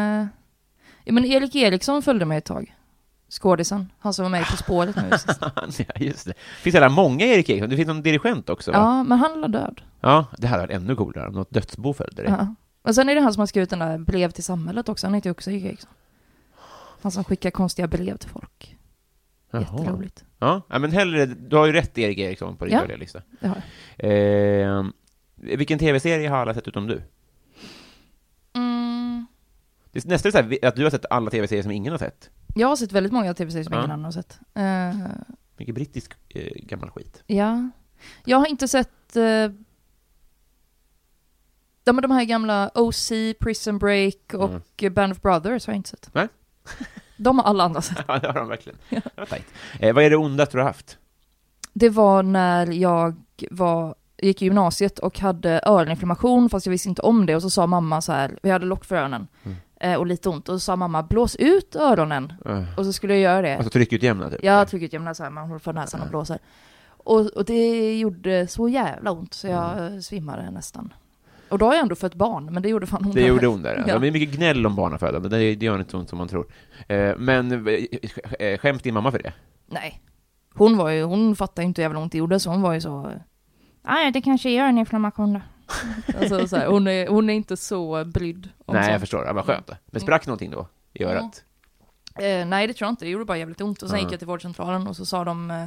Ja, men Erik Eriksson följde mig ett tag. Skådisen. Han som var med i På spåret nu sist. ja, just det. finns jävla många Erik Eriksson. Det finns någon dirigent också, va? Ja, men han är död. Ja, det hade varit ännu coolare om något dödsbo följde det. Ja. Och sen är det han som har skrivit den där brev till samhället också. Han heter ju också Erik Eriksson. Han som skickar konstiga brev till folk. Jaha. Jätteroligt. Ja, ja, men hellre, du har ju rätt Erik Eriksson på din Ja. dåliga lista. Det har jag. Eh, vilken tv-serie har alla sett utom du? Mm. Det är nästan så här, att du har sett alla tv-serier som ingen har sett. Jag har sett väldigt många tv-serier som Ja. ingen annan har sett. Eh, Mycket brittisk eh, gammal skit. ja. Jag har inte sett... eh, ja, men de här gamla OC, Prison Break och Mm. eh, Band of Brothers har jag inte sett. Nej. De har alla andra sett. Ja, det har de verkligen. Det var tajt. Eh, vad är det ondaste du har haft? Det var när jag var, gick i gymnasiet och hade öroninflammation fast jag visste inte om det och så sa mamma så här, vi hade lock för öronen Mm. eh, och lite ont och så sa mamma blås ut öronen Eh, och så skulle jag göra det. alltså tryckutjämna, typ? jag har tryckutjämnare så här, man håller för näsan och blåser. Och, och det gjorde så jävla ont så jag Mm. eh, svimmade nästan. Och då har jag ändå fött barn, men det gjorde fan ont. Det gjorde ondare. Ja. Det är mycket gnäll om barnafödande. Det det gör inte så ont som man tror. Eh, Men eh, eh, skäms din mamma för det? Nej. Hon var ju, hon fattade ju inte hur jävla ont det gjorde så hon var ju så... Nej, det kanske gör en inflammation då. alltså, så här, hon, är, hon är inte så brydd om Nej, jag sånt. förstår. Ja, vad skönt. då. Men sprack någonting då? I Ja. örat? Eh, nej, det tror jag inte. Det gjorde bara jävligt ont. Och sen Ja. gick jag till vårdcentralen och så sa de eh,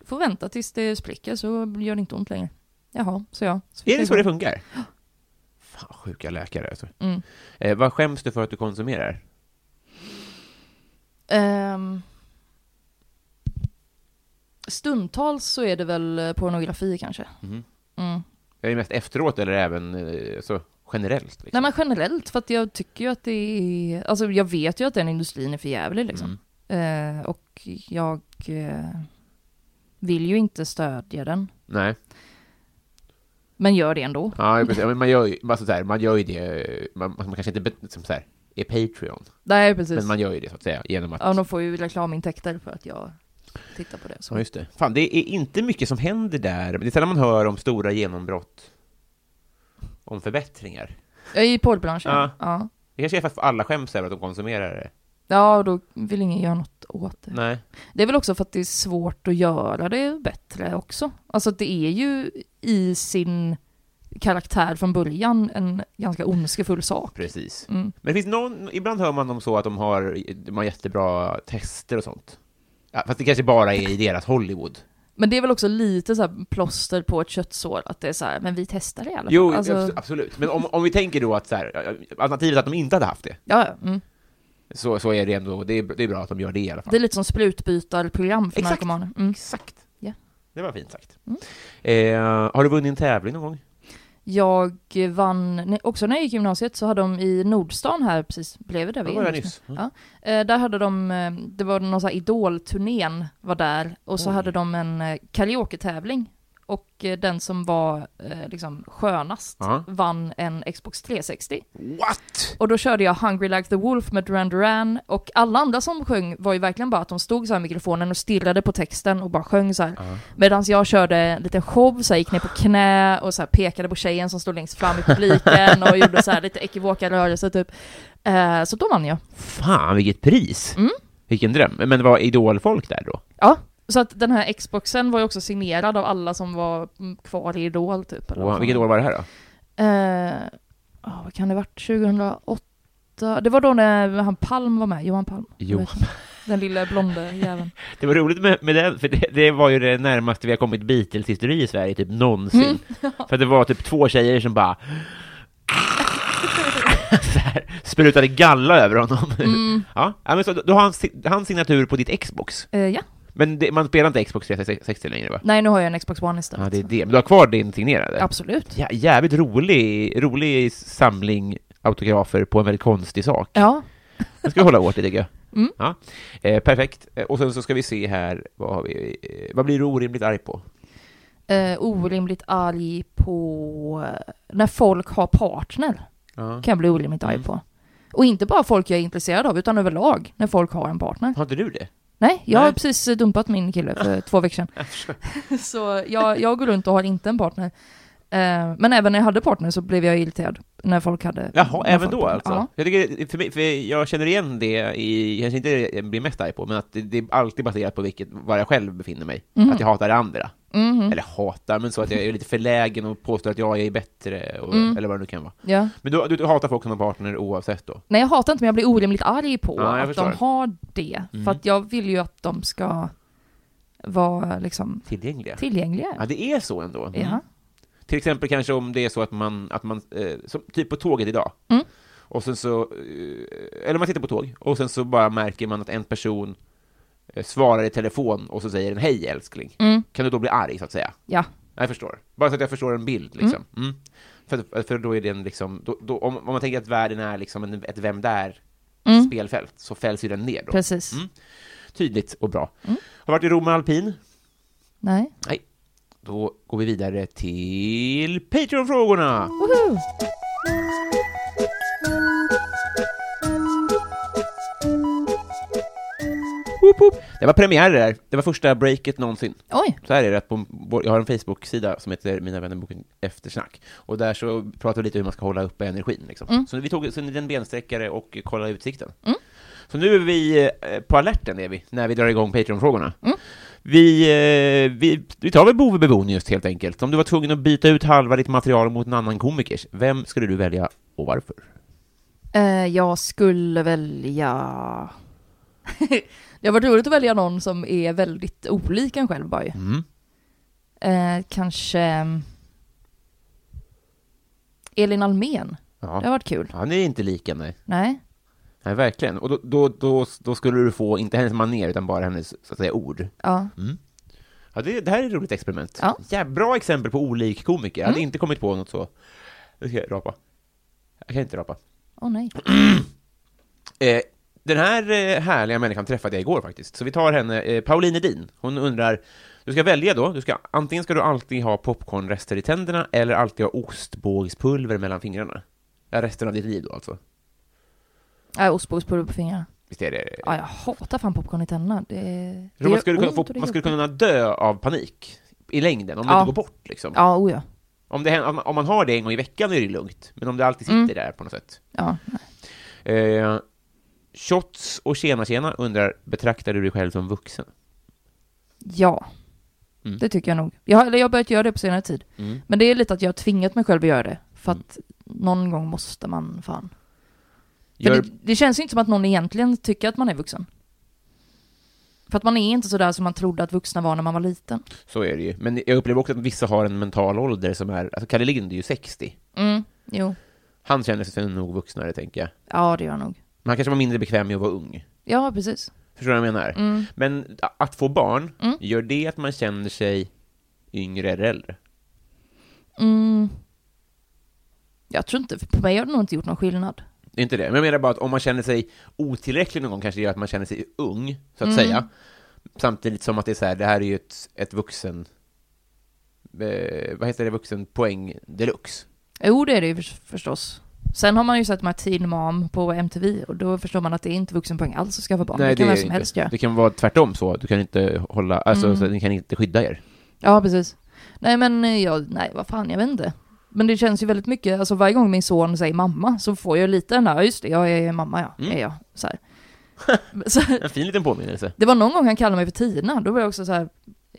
"Du får vänta tills det spricker så gör det inte ont längre. Jaha, så ja. fick Är det jag så gå. det funkar? Fan, sjuka läkare alltså. Mm. Eh, vad skäms du för att du konsumerar? Ehm, stundtals så är det väl eh, pornografi kanske. Mhm. Mm. Är det mest efteråt eller även eh, så generellt? Liksom? Nej men generellt, för att jag tycker ju att det är, alltså jag vet ju att den industrin är för jävlig Mm. liksom. Eh, och jag eh, vill ju inte stödja den, Nej. men gör det ändå. Ja, precis. Ja, Men man, gör ju, alltså, så här, man gör ju det, eh, man, man kanske inte bet- som så här, är Patreon, Nej precis. men man gör ju det så att säga genom att... Ja, de får ju reklamintäkter för att jag tittar på det. Så. Ja, just det. Fan, det är inte mycket som händer där. Det är sällan man hör om stora genombrott, om förbättringar. Jag är i porrbranschen. Ja. Ja. ja. Det kanske är för att alla skäms över att de konsumerar det. Ja, och då vill ingen göra något åt det. Nej. Det är väl också för att det är svårt att göra det bättre också. Alltså det är ju i sin karaktär från början en ganska ondskefull sak. Precis. Mm. Men det finns någon, ibland hör man om så att de har, de har jättebra tester och sånt. Ja, fast det kanske bara är i deras Hollywood. Men det är väl också lite så här plåster på ett köttsår, att det är så här, men vi testar det i alla fall. Jo, alltså, abs- absolut. Men om, om vi tänker då att så här, ja, alternativet att de inte hade haft det, ja, ja, mm. så, så är det ändå, det är, det är bra att de gör det i alla fall. Det är lite som sprutbytarprogram för Exakt. narkomaner. Mm. Exakt. Ja. Det var fint sagt. Mm. Eh, har du vunnit en tävling någon gång? Jag vann, nej, också när jag gick i gymnasiet så hade de i Nordstan här precis bredvid där Det vi var är jag just nu. nyss. Mm. Ja. Eh, där hade de, eh, det var någon sån här idolturnén var där och så Oj. hade de en eh, karaoke-tävling och eh, den som var eh, liksom skönast Ja. vann en Xbox 360. What? Och då körde jag Hungry Like the Wolf med Duran Duran och alla andra som sjöng var ju verkligen bara att de stod så här i mikrofonen och stirrade på texten och bara sjöng så här. Medan jag körde en liten show, så här, gick ner på knä och så här, pekade på tjejen som stod längst fram i publiken och gjorde så här lite ekivoka rörelser typ. Eh, så då vann jag. Fan, vilket pris! Vilken dröm. Men det var idolfolk där då? Ja, så att den här Xboxen var ju också signerad av alla som var mm, kvar i Idol typ. eller vad Wow, fan. vilket år var det här då? Eh, ja, vad kan det varit? 2008? Det var då när han Palm var med, Johan Palm. Johan. Vet ni? Den lilla blonde jäveln. Det var roligt med, med den, för det, det var ju det närmaste vi har kommit Beatles-histori i Sverige, typ någonsin. För att det var typ två tjejer som bara så här, sprutade galla över honom. Ja, ja, men så, då har han si- hans signatur på ditt Xbox. Eh, ja. Men det, man spelar inte Xbox 360 längre va? Nej, nu har jag en Xbox One Ja, istället. det är det. Men du har kvar din signerade? Absolut. Ja, jävligt rolig, rolig samling autografer på en väldigt konstig sak. Ja. Den ska vi hålla hårt i, tycker jag. Mm. Ja. Eh, perfekt. Eh, Och sen så ska vi se här, vad, har vi, eh, vad blir du orimligt arg på? Eh, orimligt arg på eh, när folk har partner. Kan jag bli orimligt Mm. arg på. Och inte bara folk jag är intresserad av, utan överlag när folk har en partner. Har inte du det? Nej, jag Nej. har precis dumpat min kille för två veckor sedan. så jag, jag går runt och har inte en partner. Eh, Men även när jag hade partner så blev jag irriterad när folk hade... Jaha, när även folk- då alltså? Ja. Jag, tycker, för mig, för jag känner igen det i, kanske inte det jag blir mest arg på, men att det, det är alltid baserat på vilket, var jag själv befinner mig. Mm. Att jag hatar det andra. Mhm, Eller hatar, men så att jag är lite förlägen och påstår att jag är bättre, och, Mm. eller vad det nu kan vara. ja. Men du, du, du hatar folk som har partner oavsett då? Nej, jag hatar inte men jag blir orimligt arg på Ja, jag att förstår. Mm. de har det. För att jag vill ju att de ska vara liksom Tillgängliga? tillgängliga. Ja, det är så ändå. Ja. Till exempel kanske om det är så att man, att man eh, som, typ på tåget idag, och sen så, eh, eller man sitter på tåg, och sen så bara märker man att en person eh, svarar i telefon och så säger den hej älskling. Kan du då bli arg så att säga? ja. Nej, Jag förstår. Bara så att jag förstår en bild liksom. Mm. För, för då är den liksom, då, då, om, om man tänker att världen är liksom en, ett vem där spelfält, så fälls ju den ner då. Precis. Tydligt och bra. Har varit i Rom med alpin? Nej. Nej. Då går vi vidare till Patreon-frågorna! Woho! Woop, woop. Det var premiär det där. Det var första breaket någonsin. Oj. Så här är det, att på vår, jag har en Facebook-sida som heter Mina vänner boken eftersnack. Och där så pratar vi lite hur man ska hålla uppe energin. Liksom. Så vi tog så en liten bensträckare och kollade utsikten. Så nu är vi eh, på alerten, är vi, när vi drar igång Patreon-frågorna. Vi, eh, vi, vi tar väl Bove Bebon just helt enkelt. Om du var tvungen att byta ut halva ditt material mot en annan komikers, vem skulle du välja och varför? Eh, jag skulle välja... det har varit roligt att välja någon som är väldigt olik en själv bara ju. Mm. Eh, kanske... mm, Elin Almen. Det har Ja. varit kul. Han är inte lika, nej. Nej. Nej, verkligen. Och då, då, då, då skulle du få, inte hennes manér, utan bara hennes, så att säga, ord. Ja. Mm. Ja, det, det här är ett roligt experiment. Ja. Mm. Ja, bra exempel på olik komiker. Jag hade inte kommit på något så... Nu ska jag rapa. Jag kan inte rapa. Åh nej. Eh, den här eh, härliga människan träffade jag igår faktiskt, så vi tar henne, eh, Pauline Edin. Hon undrar, du ska välja då, du ska, antingen ska du alltid ha popcornrester i tänderna eller alltid ha ostbågspulver mellan fingrarna. Ja, resten av ditt liv då alltså. Nej, ostbågspulver Äh, på fingrarna. Visst är det? Ja, jag hatar fan popcorn i tänderna. Det, det Jag tror man gör skulle, kunna ont få, och det man är skulle jobbigt. kunna dö av panik i längden om det Ja. inte går bort liksom. Ja, oh ja. Om, det, händer- om- om man har det en gång i veckan är det lugnt, men om det alltid sitter där på något sätt. ja. Eh, shots och tjena tjena undrar, betraktar du dig själv som vuxen? Ja. Mm. Det tycker jag nog. Jag, har- eller jag har börjat göra det på senare tid. Mm. Men det är lite att jag har tvingat mig själv att göra det. För att någon gång måste man fan. För Gör, det, det känns ju inte som att någon egentligen tycker att man är vuxen. För att man är inte sådär som man trodde att vuxna var när man var liten. Så är det ju. Men jag upplever också att vissa har en mental ålder som är, alltså Kalle Lind är ju 60. Mm, jo. Han känner sig nog vuxnare, tänker jag. Ja, det gör jag nog. Men han kanske var mindre bekväm med att vara ung. Ja, precis. Förstår du vad jag menar? Men a- att få barn, gör det att man känner sig yngre eller äldre? Mm. Jag tror inte, på mig har det nog inte gjort någon skillnad. Det är Inte det, men jag menar bara att om man känner sig otillräcklig någon gång kanske det gör att man känner sig ung, så Mm. att säga. Samtidigt som att det är så här, det här är ju ett, ett vuxen... Eh, vad heter det? Vuxen poäng deluxe. Jo, det är det ju förs- förstås. Sen har man ju sett de här Teen Mom på MTV och då förstår man att det är inte vuxenpoäng alls att skaffa barn. det kan är vem det som inte. helst Mm. göra. Det kan vara tvärtom så, du kan inte hålla, alltså så, ni kan inte skydda er. Ja, precis. Nej, men eh, jag, nej, vad fan, jag vet inte. Men det känns ju väldigt mycket, alltså varje gång min son säger mamma så får jag lite den där, "Ja, just det, jag är mamma ja, Mm. är jag. Så här. så, En fin liten påminnelse. det var någon gång han kallade mig för Tina, då var jag också så här,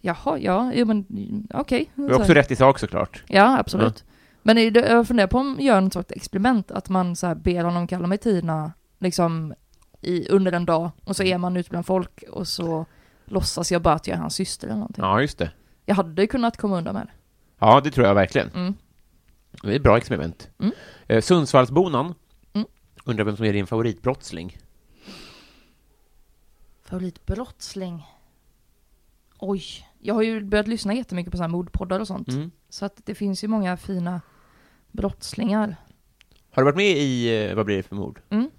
jaha, ja, jo, men mm, okej. Du Så har här. också rätt i sak såklart. Ja, absolut. Men är det, jag funderar på om jag gör något sorts experiment, att man så här ber honom kalla mig Tina, liksom i, under en dag, och Mm. så är man ute bland folk och så låtsas jag bara att jag är hans syster eller någonting. Ja, just det. Jag hade kunnat komma undan med det. Mm. Ja, det tror jag verkligen. Det är ett bra experiment. Eh, Sundsvallsbonan Mm. Undrar vem som är din favoritbrottsling? Favoritbrottsling? Oj. Jag har ju börjat lyssna jättemycket på sådana här mordpoddar och sånt. Mm. Så att det finns ju många fina brottslingar. Har du varit med i eh, Vad blir det för mord? Mm.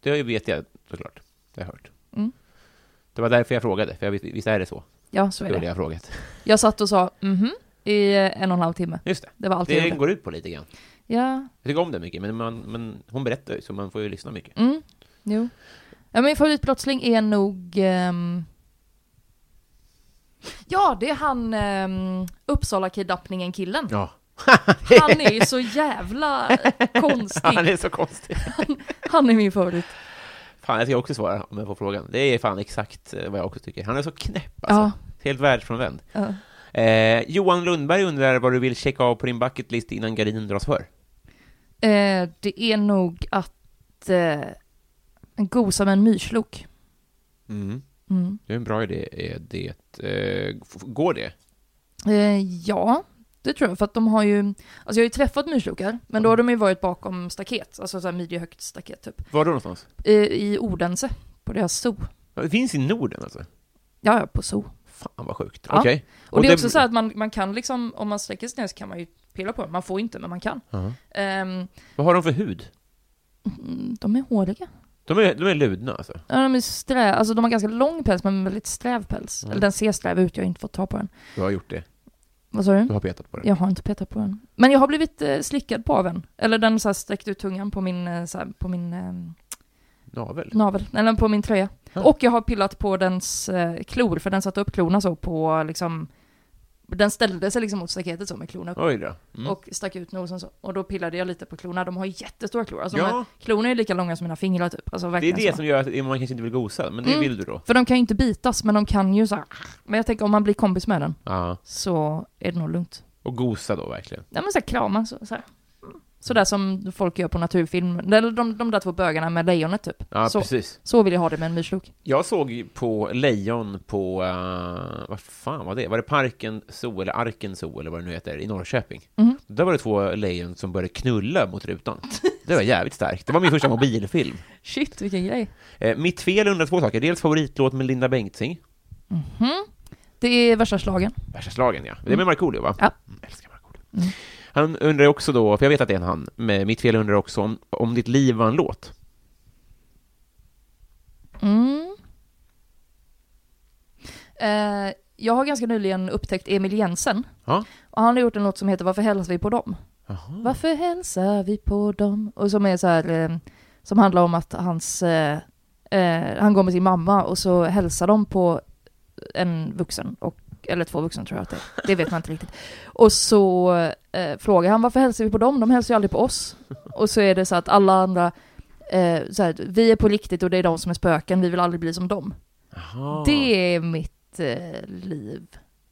Det har ju- vet jag såklart. Det har jag hört. Mm. Det var därför jag frågade, för jag visste, visst är det så? Ja, så Det är var det det. jag frågat. Jag satt och sa mhm i eh, en och en halv timme. Just det. Det var allt jag Det gjorde. går ut på lite grann. Ja, Jag tycker om det mycket, men, man, men hon berättar ju, så man får ju lyssna mycket. mm, jo. Ja, min favoritbrottsling är nog... ehm, Ja, det är han um, Uppsala-kidnappningen-killen. Ja. Han är ju så jävla konstig. Han är så konstig. Han är min favorit. Fan, jag ska också svara om jag får frågan. Det är fan exakt eh, vad jag också tycker. Han är så knäpp alltså. Ja. Helt världsfrånvänd. Ja. Eh, Johan Lundberg undrar vad du vill checka av på din bucketlist innan gardinen dras för. Eh, det är nog att eh, gosa med en myrslok. Mm. Det är en bra idé. Är det, eh, f- går det? Eh, ja, det tror jag. För att de har ju... Alltså jag har ju träffat myrslokar, men då har de ju varit bakom staket. Alltså så här midjehögt staket typ. Var då någonstans? Eh, I Odense, på deras zoo. Ja, Det finns i Norden alltså? Ja, ja, på zoo. Fan vad sjukt. Ja. Okej. Och, det är också så här att man, man kan liksom, om man sträcker sig ner så kan man ju pilla på den. Man får inte, men man kan. Ja. Ehm, Vad har de för hud? mm, de är håriga. De är, de är ludna alltså. Ja, de är strä, alltså de har ganska lång päls, men väldigt sträv päls. Eller den ser sträv ut, jag har inte fått ta på den. Du har gjort det. Vad sa du? Du har petat på det. Jag har inte petat på den. Men jag har blivit eh, slickad på av en. Eller den så här sträckt ut tungan på min, eh, så här, på min eh, Navel. navel, eller på min tröja. Ja. Och jag har pillat på dens eh, klor, för den satte upp klorna så på liksom... Den ställde sig liksom mot staketet så med klorna upp. Oj då. Mm. Och stack ut nosen så. Och då pillade jag lite på klorna. De har jättestora klor. Alltså Ja. de här klorna är ju lika långa som mina fingrar typ. Alltså Det är verkligen det så. som gör att man kanske inte vill gosa, men det Mm. vill du då? För de kan ju inte bitas, men de kan ju så här. Men jag tänker om man blir kompis med den Ja. så är det nog lugnt. Och gosa då verkligen. Ja men så här, krama så, så här. Sådär som folk gör på naturfilm. Eller de, de där två bögarna med lejonet typ. Ja, så, precis. så vill jag ha det med en myrslok. Jag såg ju på lejon på, eh, vad fan var det? Var det Parken Zoo eller Arken Zoo eller vad det nu heter i Norrköping? Mhm. Där var det två lejon som började knulla mot rutan. Det var jävligt starkt. Det var min första mobilfilm. Shit vilken grej. Eh, mitt fel undrar två saker. Dels favoritlåt med Linda Bengtzing. Det är värsta slagen. Värsta slagen ja. Det är med Markoolio va? Ja. Mm, älskar Markoolio. Han undrar också då, för jag vet att det är en han, men mitt fel undrar också om, om ditt liv var en låt. Mm. Eh, jag har ganska nyligen upptäckt Emil Jensen. Ja. Och han har gjort en låt som heter Varför hälsar vi på dem? Jaha. Varför hälsar vi på dem? Och som är så här, eh, som handlar om att hans, eh, eh, han går med sin mamma och så hälsar de på en vuxen, och, eller två vuxna tror jag att det är. Det vet man inte riktigt. Och så eh, frågar han varför hälsar vi på dem? De hälsar ju aldrig på oss. Och så är det så att alla andra, eh, så här, vi är på riktigt och det är de som är spöken, vi vill aldrig bli som dem. Jaha. Det är mitt eh, liv.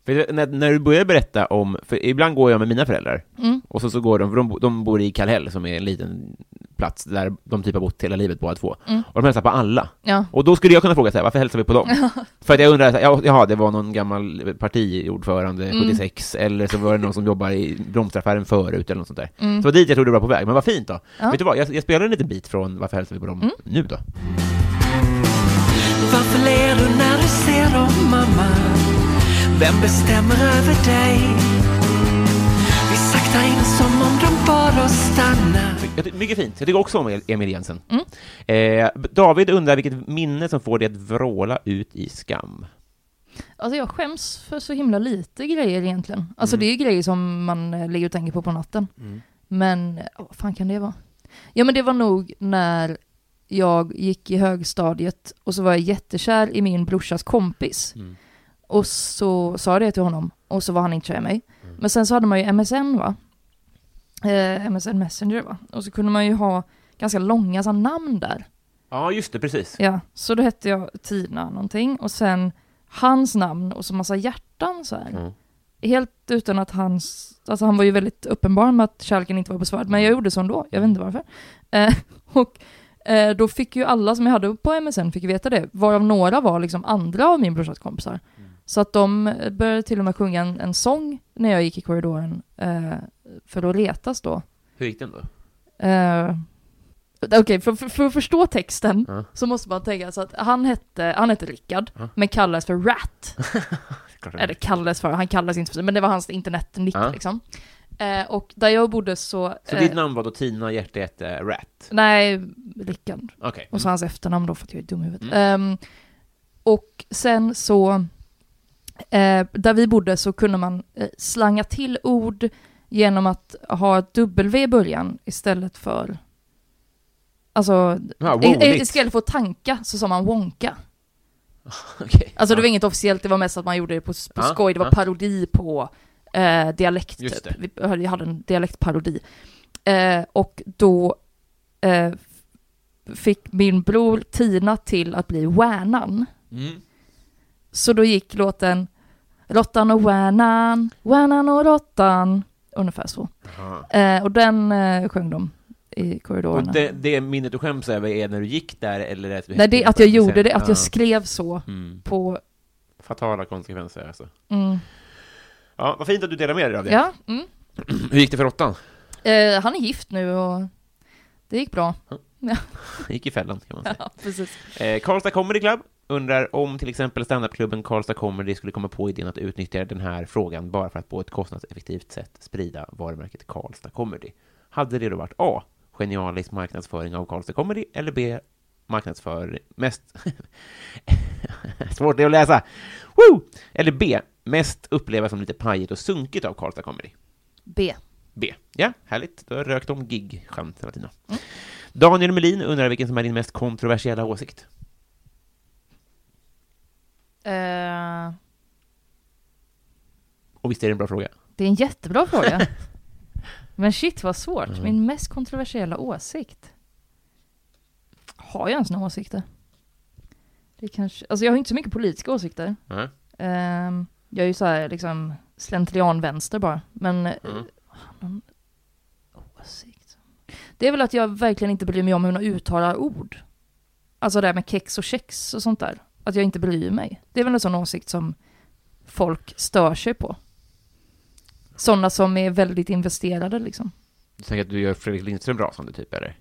För det- när, när du börjar berätta om, för ibland går jag med mina föräldrar, Mm. och så, så går de, för de, bo- de bor i Kallhäll som är en liten plats där de typ har bott hela livet båda två, Mm. och de hälsar på alla. Ja. Och då skulle jag kunna fråga så här, varför hälsar vi på dem? för att jag undrar, så här, ja, jaha, det var någon gammal partiordförande Mm. 76, eller så var det någon som jobbar i blomsteraffären förut eller något sånt där. Så det var dit jag tror du var på väg, men vad fint då. Mm. Ja. Mm. Vet du vad, jag, jag spelar en liten bit från varför hälsar vi på dem nu då. Varför ler du när du ser dem mamma? Vem bestämmer över dig? Vi saktar in som om de bad oss stanna Jag ty- mycket fint. Jag tycker också om El- Emil Jensen. Mm. Eh, David undrar vilket minne som får dig att vråla ut i skam. Alltså jag skäms för så himla lite grejer egentligen. Alltså det är grejer som man eh, ligger och tänker på på natten. Men, ja, vad fan kan det vara? Ja men det var nog när jag gick i högstadiet och så var jag jättekär i min brorsas kompis. Och så sa jag det till honom och så var han inte kär i mig. Men sen så hade man ju MSN va? Eh, MSN Messenger va? Och så kunde man ju ha ganska långa så här, namn där. Ja, just det, precis. Ja, så då hette jag Tina någonting och sen hans namn och så massa hjärtan så här. Mm. Helt utan att hans, alltså han var ju väldigt uppenbar med att kärleken inte var besvarad, men jag gjorde så ändå, jag vet inte varför. Eh, och eh, då fick ju alla som jag hade på MSN fick veta det, varav några var liksom andra av min brorsas kompisar. Mm. Så att de började till och med sjunga en, en sång när jag gick i korridoren eh, för att retas då. Hur gick den då? Eh, Okej, för, för, för att förstå texten så måste man tänka så att han hette, han hette Rickard, men kallades för Rat. Eller kallades för, han kallades inte för men det var hans internetnick Ja. liksom. Eh, och där jag bodde så... Så eh, ditt namn var då Tina Hjärtehjälte Rat? Nej, Rickard. Okej. Och så hans efternamn då för att jag är dum i Mm. huvudet. Ehm, och sen så, eh, där vi bodde så kunde man eh, slanga till ord genom att ha ett W i början istället för Alltså, Ja, i- i- Wonit. istället för att tanka så sa man wonka. Okej. Alltså det var inget officiellt, det var mest att man gjorde det på, på Ja, skoj, det var ja. parodi på eh, dialekt Just typ. Vi hade- hade en dialektparodi. Eh, och då eh, f- fick min bror Tina till att bli Wärnan. Mm. Så då gick låten Råttan och Wärnan, Wärnan och Råttan, ungefär så. Aha. Eh, och den eh, sjöng de i Och korridorerna. det, det minnet du skäms över är när du gick där eller att du Nej, det, häckade att på jag den gjorde scenen? det, att Ja. jag skrev så Mm. på... Fatala konsekvenser alltså. Mm. Ja, vad fint att du delar med dig av det. Ja, mm. Hur gick det för råttan? Eh, han är gift nu och det gick bra. gick i fällan kan man säga. Ja, precis. Eh, Karlstad Comedy Club undrar om till exempel standupklubben Karlstad Comedy skulle komma på idén att utnyttja den här frågan bara för att på ett kostnadseffektivt sätt sprida varumärket Karlstad Comedy. Hade det då varit A. Genialisk marknadsföring av Karlstad Comedy eller B. Marknadsför mest... Svårt det att läsa! Woo! Eller B. Mest upplevas som lite pajigt och sunkigt av Karlstad Comedy. B. B. Ja, härligt. Då har jag rökt om gig-skämt hela tiden. Daniel Melin undrar vilken som är din mest kontroversiella åsikt. Eh, Och visst är det en bra fråga? det är en jättebra fråga. Men shit vad svårt. Mm. Min mest kontroversiella åsikt. Har jag ens några åsikter? Det kanske, alltså jag har inte så mycket politiska åsikter. Nej. Ehm, jag är ju så här liksom slentrianvänster bara. Men eh, Mm. har någon åsikt. Det är väl att jag verkligen inte bryr mig om hur man uttalar ord. Alltså det här med kex och kex och sånt där. Att jag inte bryr mig. Det är väl en sån åsikt som folk stör sig på. Sådana som är väldigt investerade liksom. Du tänker att du gör Fredrik Lindström rasande typ, eller?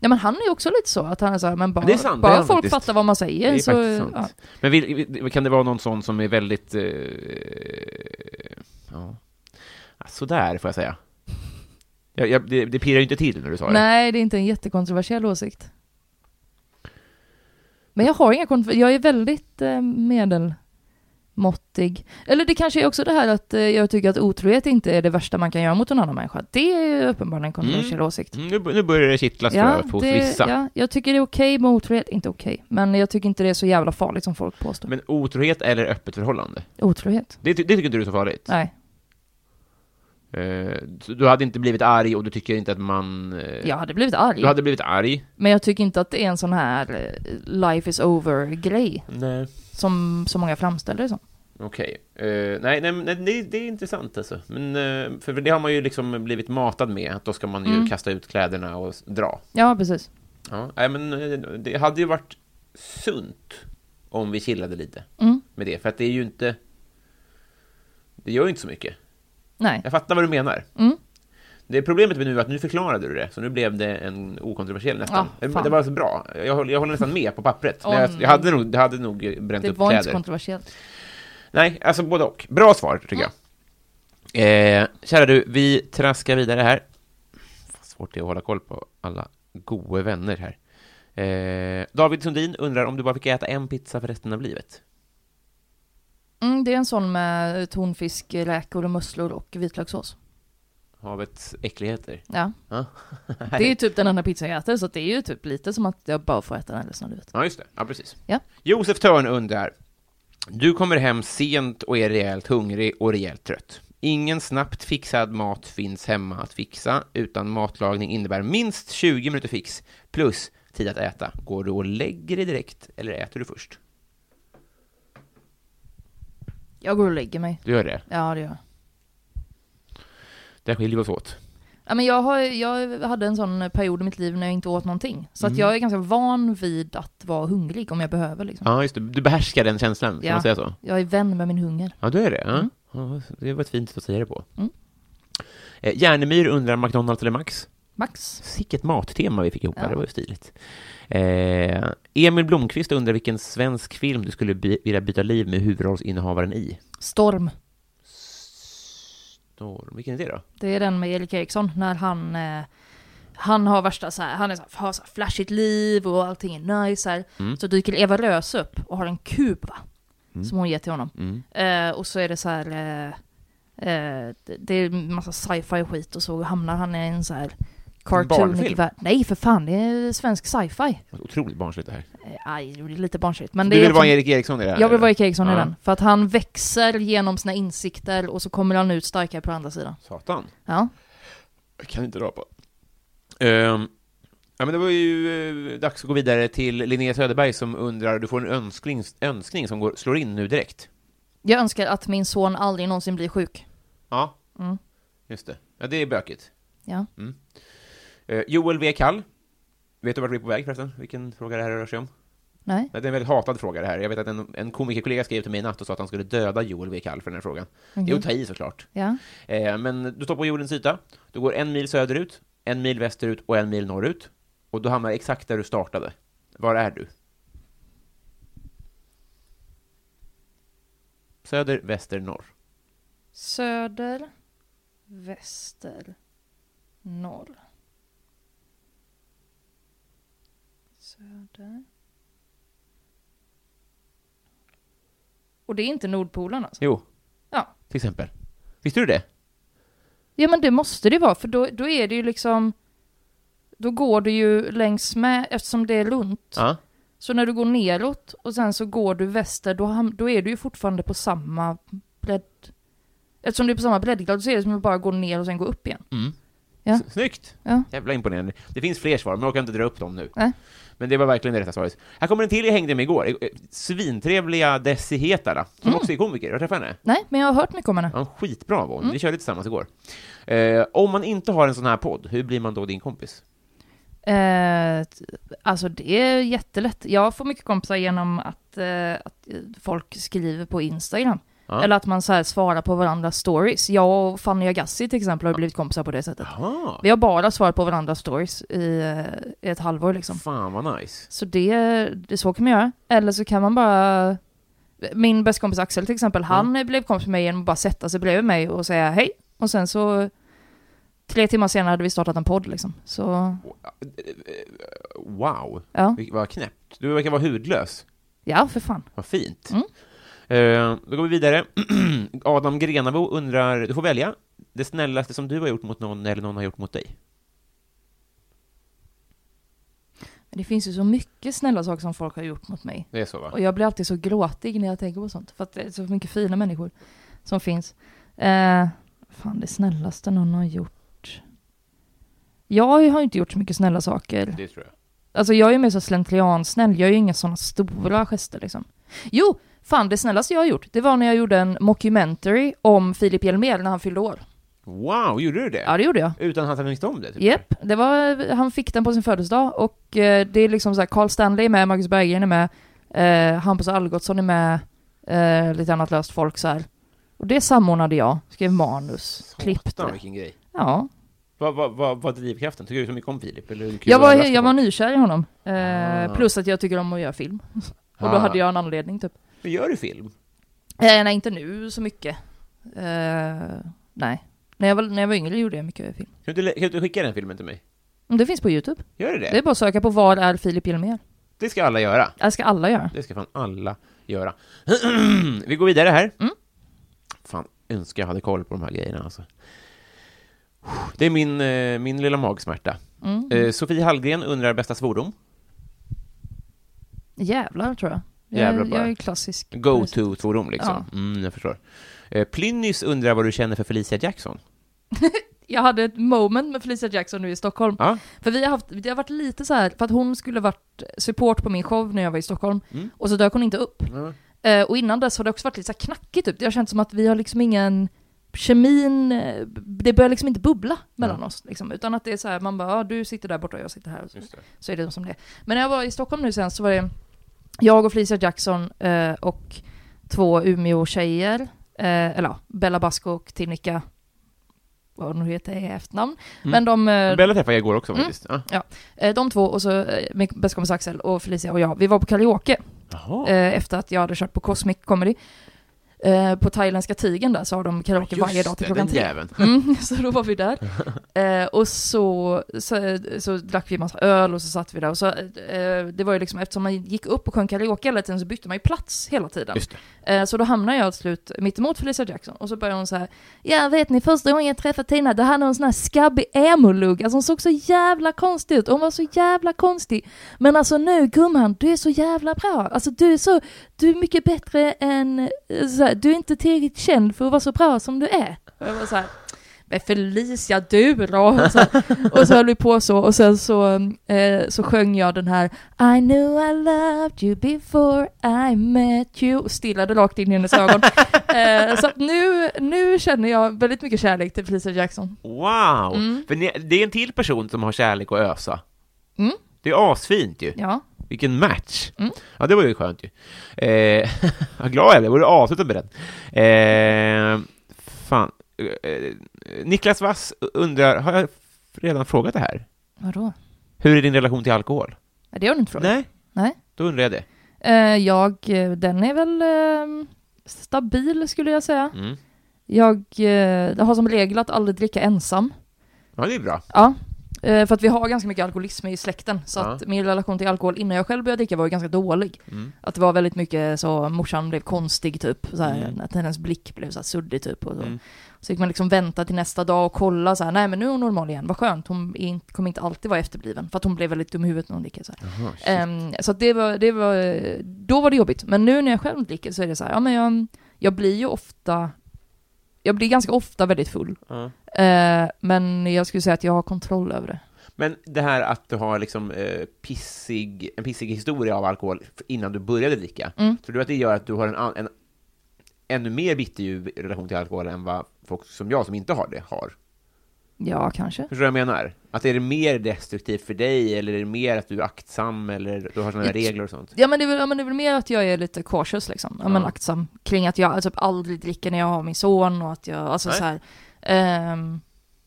Ja men han är ju också lite så att han är så här, men bara, Det är sant, det är bara han folk faktiskt. fattar vad man säger det är så... faktiskt sant. ja. Men vill, vill- kan det vara någon sån som är väldigt... Eh, ja. Ja, Sådär, får jag säga. Jag, jag, det, det pirrar ju inte till när du sa det. Nej, det är inte en jättekontroversiell åsikt. Men jag har inga kontro- jag är väldigt eh, medelmåttig. Eller det kanske är också det här att eh, jag tycker att otrohet inte är det värsta man kan göra mot en annan människa. Det är ju uppenbarligen en kontroversiell åsikt. Mm, Nu, nu börjar det kittlas ja, hos det- vissa. ja, jag tycker det är okej med otrohet, inte okej, men jag tycker inte det är så jävla farligt som folk påstår. Men otrohet eller öppet förhållande? Otrohet? Det, ty- det tycker inte du är så farligt? Nej, Eh, så du hade inte blivit arg och du tycker inte att man... eh, jag hade blivit arg. Du hade blivit arg? Men jag tycker inte att det är en sån här eh, life is over-grej Nej. som så många framställer det som. Okej. Eh, nej, nej, nej det, det är intressant alltså. Men, eh, för det har man ju liksom blivit matad med, att då ska man ju Mm. kasta ut kläderna och s- dra. Ja, precis. Ja, nej, men eh, det hade ju varit sunt om vi chillade lite Mm. med det, för att det är ju inte... Det gör ju inte så mycket. Nej. Jag fattar vad du menar. Mm. Det problemet med nu är att nu förklarade du det, så nu blev det en okontroversiell nästan. Ja, det Ah, fan. var så bra. Jag, håller- jag håller nästan med på pappret. Åh, Men jag, nej. jag, hade nog, jag hade nog bränt Det upp var kläder. inte så kontroversiellt. Nej, alltså både och. Bra svar, tycker jag. Eh, kära du, vi traskar vidare här. Fan, svårt det är att hålla koll på alla gode vänner här. Eh, David Sundin undrar om du bara fick äta en pizza för resten av livet? Mm, det är en sån med tonfisk, räkor och musslor och vitlökssås. Havets äckligheter. Ja. Ja. Det är ju typ den enda pizza jag äter, så att det är ju typ lite som att jag bara får äta den resten av livet. Ja, just det. Ja, precis. Ja. Josef Törn undrar. Du kommer hem sent och är rejält hungrig och rejält trött. Ingen snabbt fixad mat finns hemma att fixa, utan matlagning innebär minst 20 minuter fix, plus tid att äta. Går du och lägger dig direkt, eller äter du först? Jag går och lägger mig. Du gör det. Ja, det gör jag. Där skiljer vi oss åt. Ja, men jag, har, jag hade en sån period i mitt liv när jag inte åt någonting. Så Mm. att jag är ganska van vid att vara hungrig om jag behöver liksom. Ja, just det. Du behärskar den känslan, kan Ja. man säga så? Jag är vän med min hunger. Ja, du är det? Ja. Ja, det var ett fint sätt att säga det på. Mm. Eh, Järnemyr undrar McDonalds eller Max? Max. Sicket mattema vi fick ihop här, Ja. det var ju stiligt. Eh, Emil Blomqvist undrar vilken svensk film du skulle by- vilja byta liv med huvudrollsinnehavaren i? Storm. Storm. Vilken är det då? Det är den med Erik Eriksson när han eh, han har värsta så här, han är så här, har så här flashigt liv och allting är nice så här. Mm. Så dyker Eva Röse upp och har en kub va? Som hon ger till honom. Mm. Eh, och så är det så här, eh, eh, det- det är en massa sci-fi skit och så hamnar han i en så här cartoonig Barnfilm? värld. Nej för fan, det är svensk sci-fi. Otroligt barnsligt det här. Eh, aj, det blir lite barnsligt. Men det Du är vill vara liksom- Erik Eriksson i det här? jag vill vara Erik Eriksson i Ja. den. För att han växer genom sina insikter och så kommer han ut starkare på andra sidan. Satan. Ja. Jag kan inte rapa. Ehm, ja, men det var ju eh, dags att gå vidare till Linnea Söderberg som undrar, du får en önskning, önskning som går, slår in nu direkt. Jag önskar att min son aldrig någonsin blir sjuk. Ja, Mm. just det. Ja, det är bökigt. Mm. Ja. Eh, Joel V. Kall. Vet du vart vi är på väg förresten? Vilken fråga det här rör sig om? Nej. Nej, Det är en väldigt hatad fråga det här. Jag vet att en, en komikerkollega skrev till mig i natt och sa att han skulle döda Joel V. Kall för den här frågan. Mhm. Det är att ta i såklart. Ja. Eh, men du står på jordens yta, du går en mil söderut, en mil västerut och en mil norrut. Och du hamnar exakt där du startade. Var är du? Söder, väster, norr. Söder, väster, norr. Söder. Och det är inte Nordpolen alltså? Jo, Ja. till exempel. Visste du det? Ja men det måste det vara, för då, då är det ju liksom... Då går du ju längs med, eftersom det är runt. Ja. Så när du går neråt och sen så går du väster, då, ham- då är du ju fortfarande på samma bredd. Eftersom du är på samma breddgrad så är det som att bara gå ner och sen gå upp igen. Ja. S- Snyggt! Ja. Jävla imponerande. Det finns fler svar, men jag kan inte dra upp dem nu. Nej. Men det var verkligen det rätta svaret. Här kommer en till jag hängde med igår. Eh, Svintrevliga Desi Hetala, som också är komiker. Jag träffade henne. Nej, men jag har hört mycket om henne. Ja, skitbra var hon. Vi körde tillsammans igår. Eh, om man inte har en sån här podd, hur blir man då din kompis? Eh, t- alltså det är jättelätt. Jag får mycket kompisar genom att, eh, att eh, folk skriver på Instagram. Ja. Eller att man så här svarar på varandras stories. Jag och Fanny Agassi till exempel har blivit kompisar på det sättet. Jaha, Vi har bara svarat på varandras stories i, eh, i ett halvår liksom. fan vad nice. Så det, det så kan man göra. Eller så kan man bara... Min bästa kompis Axel till exempel, han blev kompis med mig genom att bara sätta sig bredvid mig och säga hej. Och sen så... Tre timmar senare hade vi startat en podd liksom. Så, Wow, ja. Vil- vad knäppt. Du verkar vara hudlös. Ja, för fan. Vad fint. Eh, då går vi vidare. Adam Grenabo undrar, du får välja, det snällaste som du har gjort mot någon eller någon har gjort mot dig? Men det finns ju så mycket snälla saker som folk har gjort mot mig. Det är så va? Och jag blir alltid så gråtig när jag tänker på sånt. För att det är så mycket fina människor som finns. Eh, fan, det snällaste någon har gjort. Jag har ju inte gjort så mycket snälla saker. Det tror jag. Alltså jag är ju mer så slentriansnäll, jag är ju inga sådana stora gester liksom. Jo, fan det snällaste jag har gjort, det var när jag gjorde en mockumentary om Filip Hjelmér när han fyllde år. Wow, gjorde du det? Ja, det gjorde jag. Utan att han visste om det? Typ. Jep, det var, han fick den på sin födelsedag och eh, det är liksom såhär, Carl Stanley är med, Marcus Berggren är med, eh, Hampus Algotsson är med, eh, lite annat löst folk så här. Och det samordnade jag, skrev manus, klippte. Satan, vilken grej. Ja. Vad vad vad vad drivkraften? Tycker du så mycket om Filip? Eller hur kul Jag att var, överraska jag var folk? nykär i honom. Eh, Ah. plus att jag tycker om att göra film. Och då Ah. hade jag en anledning typ. Men gör du film? Eh, nej, inte nu så mycket. Eh, nej. När jag, var, när jag var yngre gjorde jag mycket film. Kan du, inte lä- kan du inte skicka den filmen till mig? Men det finns på YouTube. Gör du det? Det är det? bara att söka på Var är Filip Hjelmér? Det ska alla göra. Det ska alla göra. Det ska fan alla göra. Vi går vidare här. Mm. Fan, önskar jag hade koll på de här grejerna alltså. Det är min, eh, min lilla magsmärta. Mm. Eh, Sofie Hallgren undrar bästa svordom. Jävlar, tror jag. Jag, Jävlar bara. jag är klassisk. Go-to-svordom liksom. Mm, jag förstår. Eh, Plynnis undrar vad du känner för Felicia Jackson. Jag hade ett moment med Felicia Jackson nu i Stockholm. Ja. För vi har haft, det har varit lite så här, för att hon skulle varit support på min show när jag var i Stockholm. Och så dök hon inte upp. Eh, och innan dess har det också varit lite så här knackigt typ. Det har känts som att vi har liksom ingen kemin, eh, det börjar liksom inte bubbla mellan oss. Liksom, utan att det är så här, man bara, ja, du sitter där borta och jag sitter här. Och så, så är det som det är. Men när jag var i Stockholm nu sen så var det jag och Felicia Jackson eh, och två Umeå-tjejer, eh, eller ja, Bella Basco och Tinnika vad hon nu heter i efternamn. Men de, eh, Bella träffade jag igår också faktiskt. Ja. eh, de två och så eh, min bästa kompis Axel och Felicia och jag, vi var på karaoke Jaha. eh, efter att jag hade kört på Cosmic Comedy. Eh, på Thailändska tigen där så har de karaoke varje dag till klockan den tre. jäveln. Mm, så då var vi där. Eh, och så, så, så drack vi massa öl och så satt vi där. Och så, eh, det var ju liksom, eftersom man gick upp och sjöng karaoke hela tiden så bytte man ju plats hela tiden. Just det. Eh, så då hamnade jag till slut mitt emot Felicia Jackson och så började hon så här, ja vet ni första gången jag träffade Tina då hade hon en sån här skabbig emo-lugg, alltså hon såg så jävla konstig ut, hon var så jävla konstig. Men alltså nu gumman, du är så jävla bra, alltså du är så, du är mycket bättre än, eh, så här, du är inte tillräckligt känd för att vara så bra som du är. Och jag var så här, men Felicia du då? Och så, och så höll vi på så och sen så, eh, så sjöng jag den här I knew I loved you before I met you och stillade rakt in i hennes ögon. eh, så att nu, nu känner jag väldigt mycket kärlek till Felicia Jackson. Wow! För ni, det är en till person som har kärlek att ösa. Mm. Det är asfint ju. Ja, Mm. Vilken match! Ja, det var ju skönt ju. Eh, vad glad jag blev, jag vore avslutad med den. Eh, fan. Eh, Niklas Wass undrar, har jag redan frågat det här? vadå? Hur är din relation till alkohol? Nej, Det har du inte frågat. Nej, Nej. då undrar jag det. Eh, jag, eh, den är väl eh, stabil skulle jag säga. Mm. Jag eh, har som regel att aldrig dricka ensam. Ja, det är bra. Ja, eh, för att vi har ganska mycket alkoholism i släkten. Så Ja. att min relation till alkohol innan jag själv började dricka var ju ganska dålig. Mm. Att det var väldigt mycket så, morsan blev konstig typ. Så här, Att hennes blick blev så här suddig typ. Och så. så fick man liksom vänta till nästa dag och kolla så här, nej men nu är hon normal igen, vad skönt. Hon är inte- kommer inte alltid vara efterbliven. För att hon blev väldigt dum i huvudet när hon dricker så här. Ehm, så att det var, det var, eh, då var det jobbigt. Men nu när jag själv dricker så är det så här, ja men jag, jag blir ju ofta, jag blir ganska ofta väldigt full. Eh, men jag skulle säga att jag har kontroll över det. Men det här att du har liksom eh, pissig, en pissig historia av alkohol f- innan du började dricka, Mm. tror du att det gör att du har en, an- en ännu mer bitterljuv relation till alkohol än vad folk som jag som inte har det har? Ja, kanske. Förstår du vad jag menar? Att är det mer destruktivt för dig, eller är det mer att du är aktsam, eller du har sådana här Jag- regler och sånt? Ja men, det är väl, ja men det är väl mer att jag är lite cautious liksom, ja, men aktsam kring att jag alltså, aldrig dricker när jag har min son och att jag, alltså Nej. så här, ehm,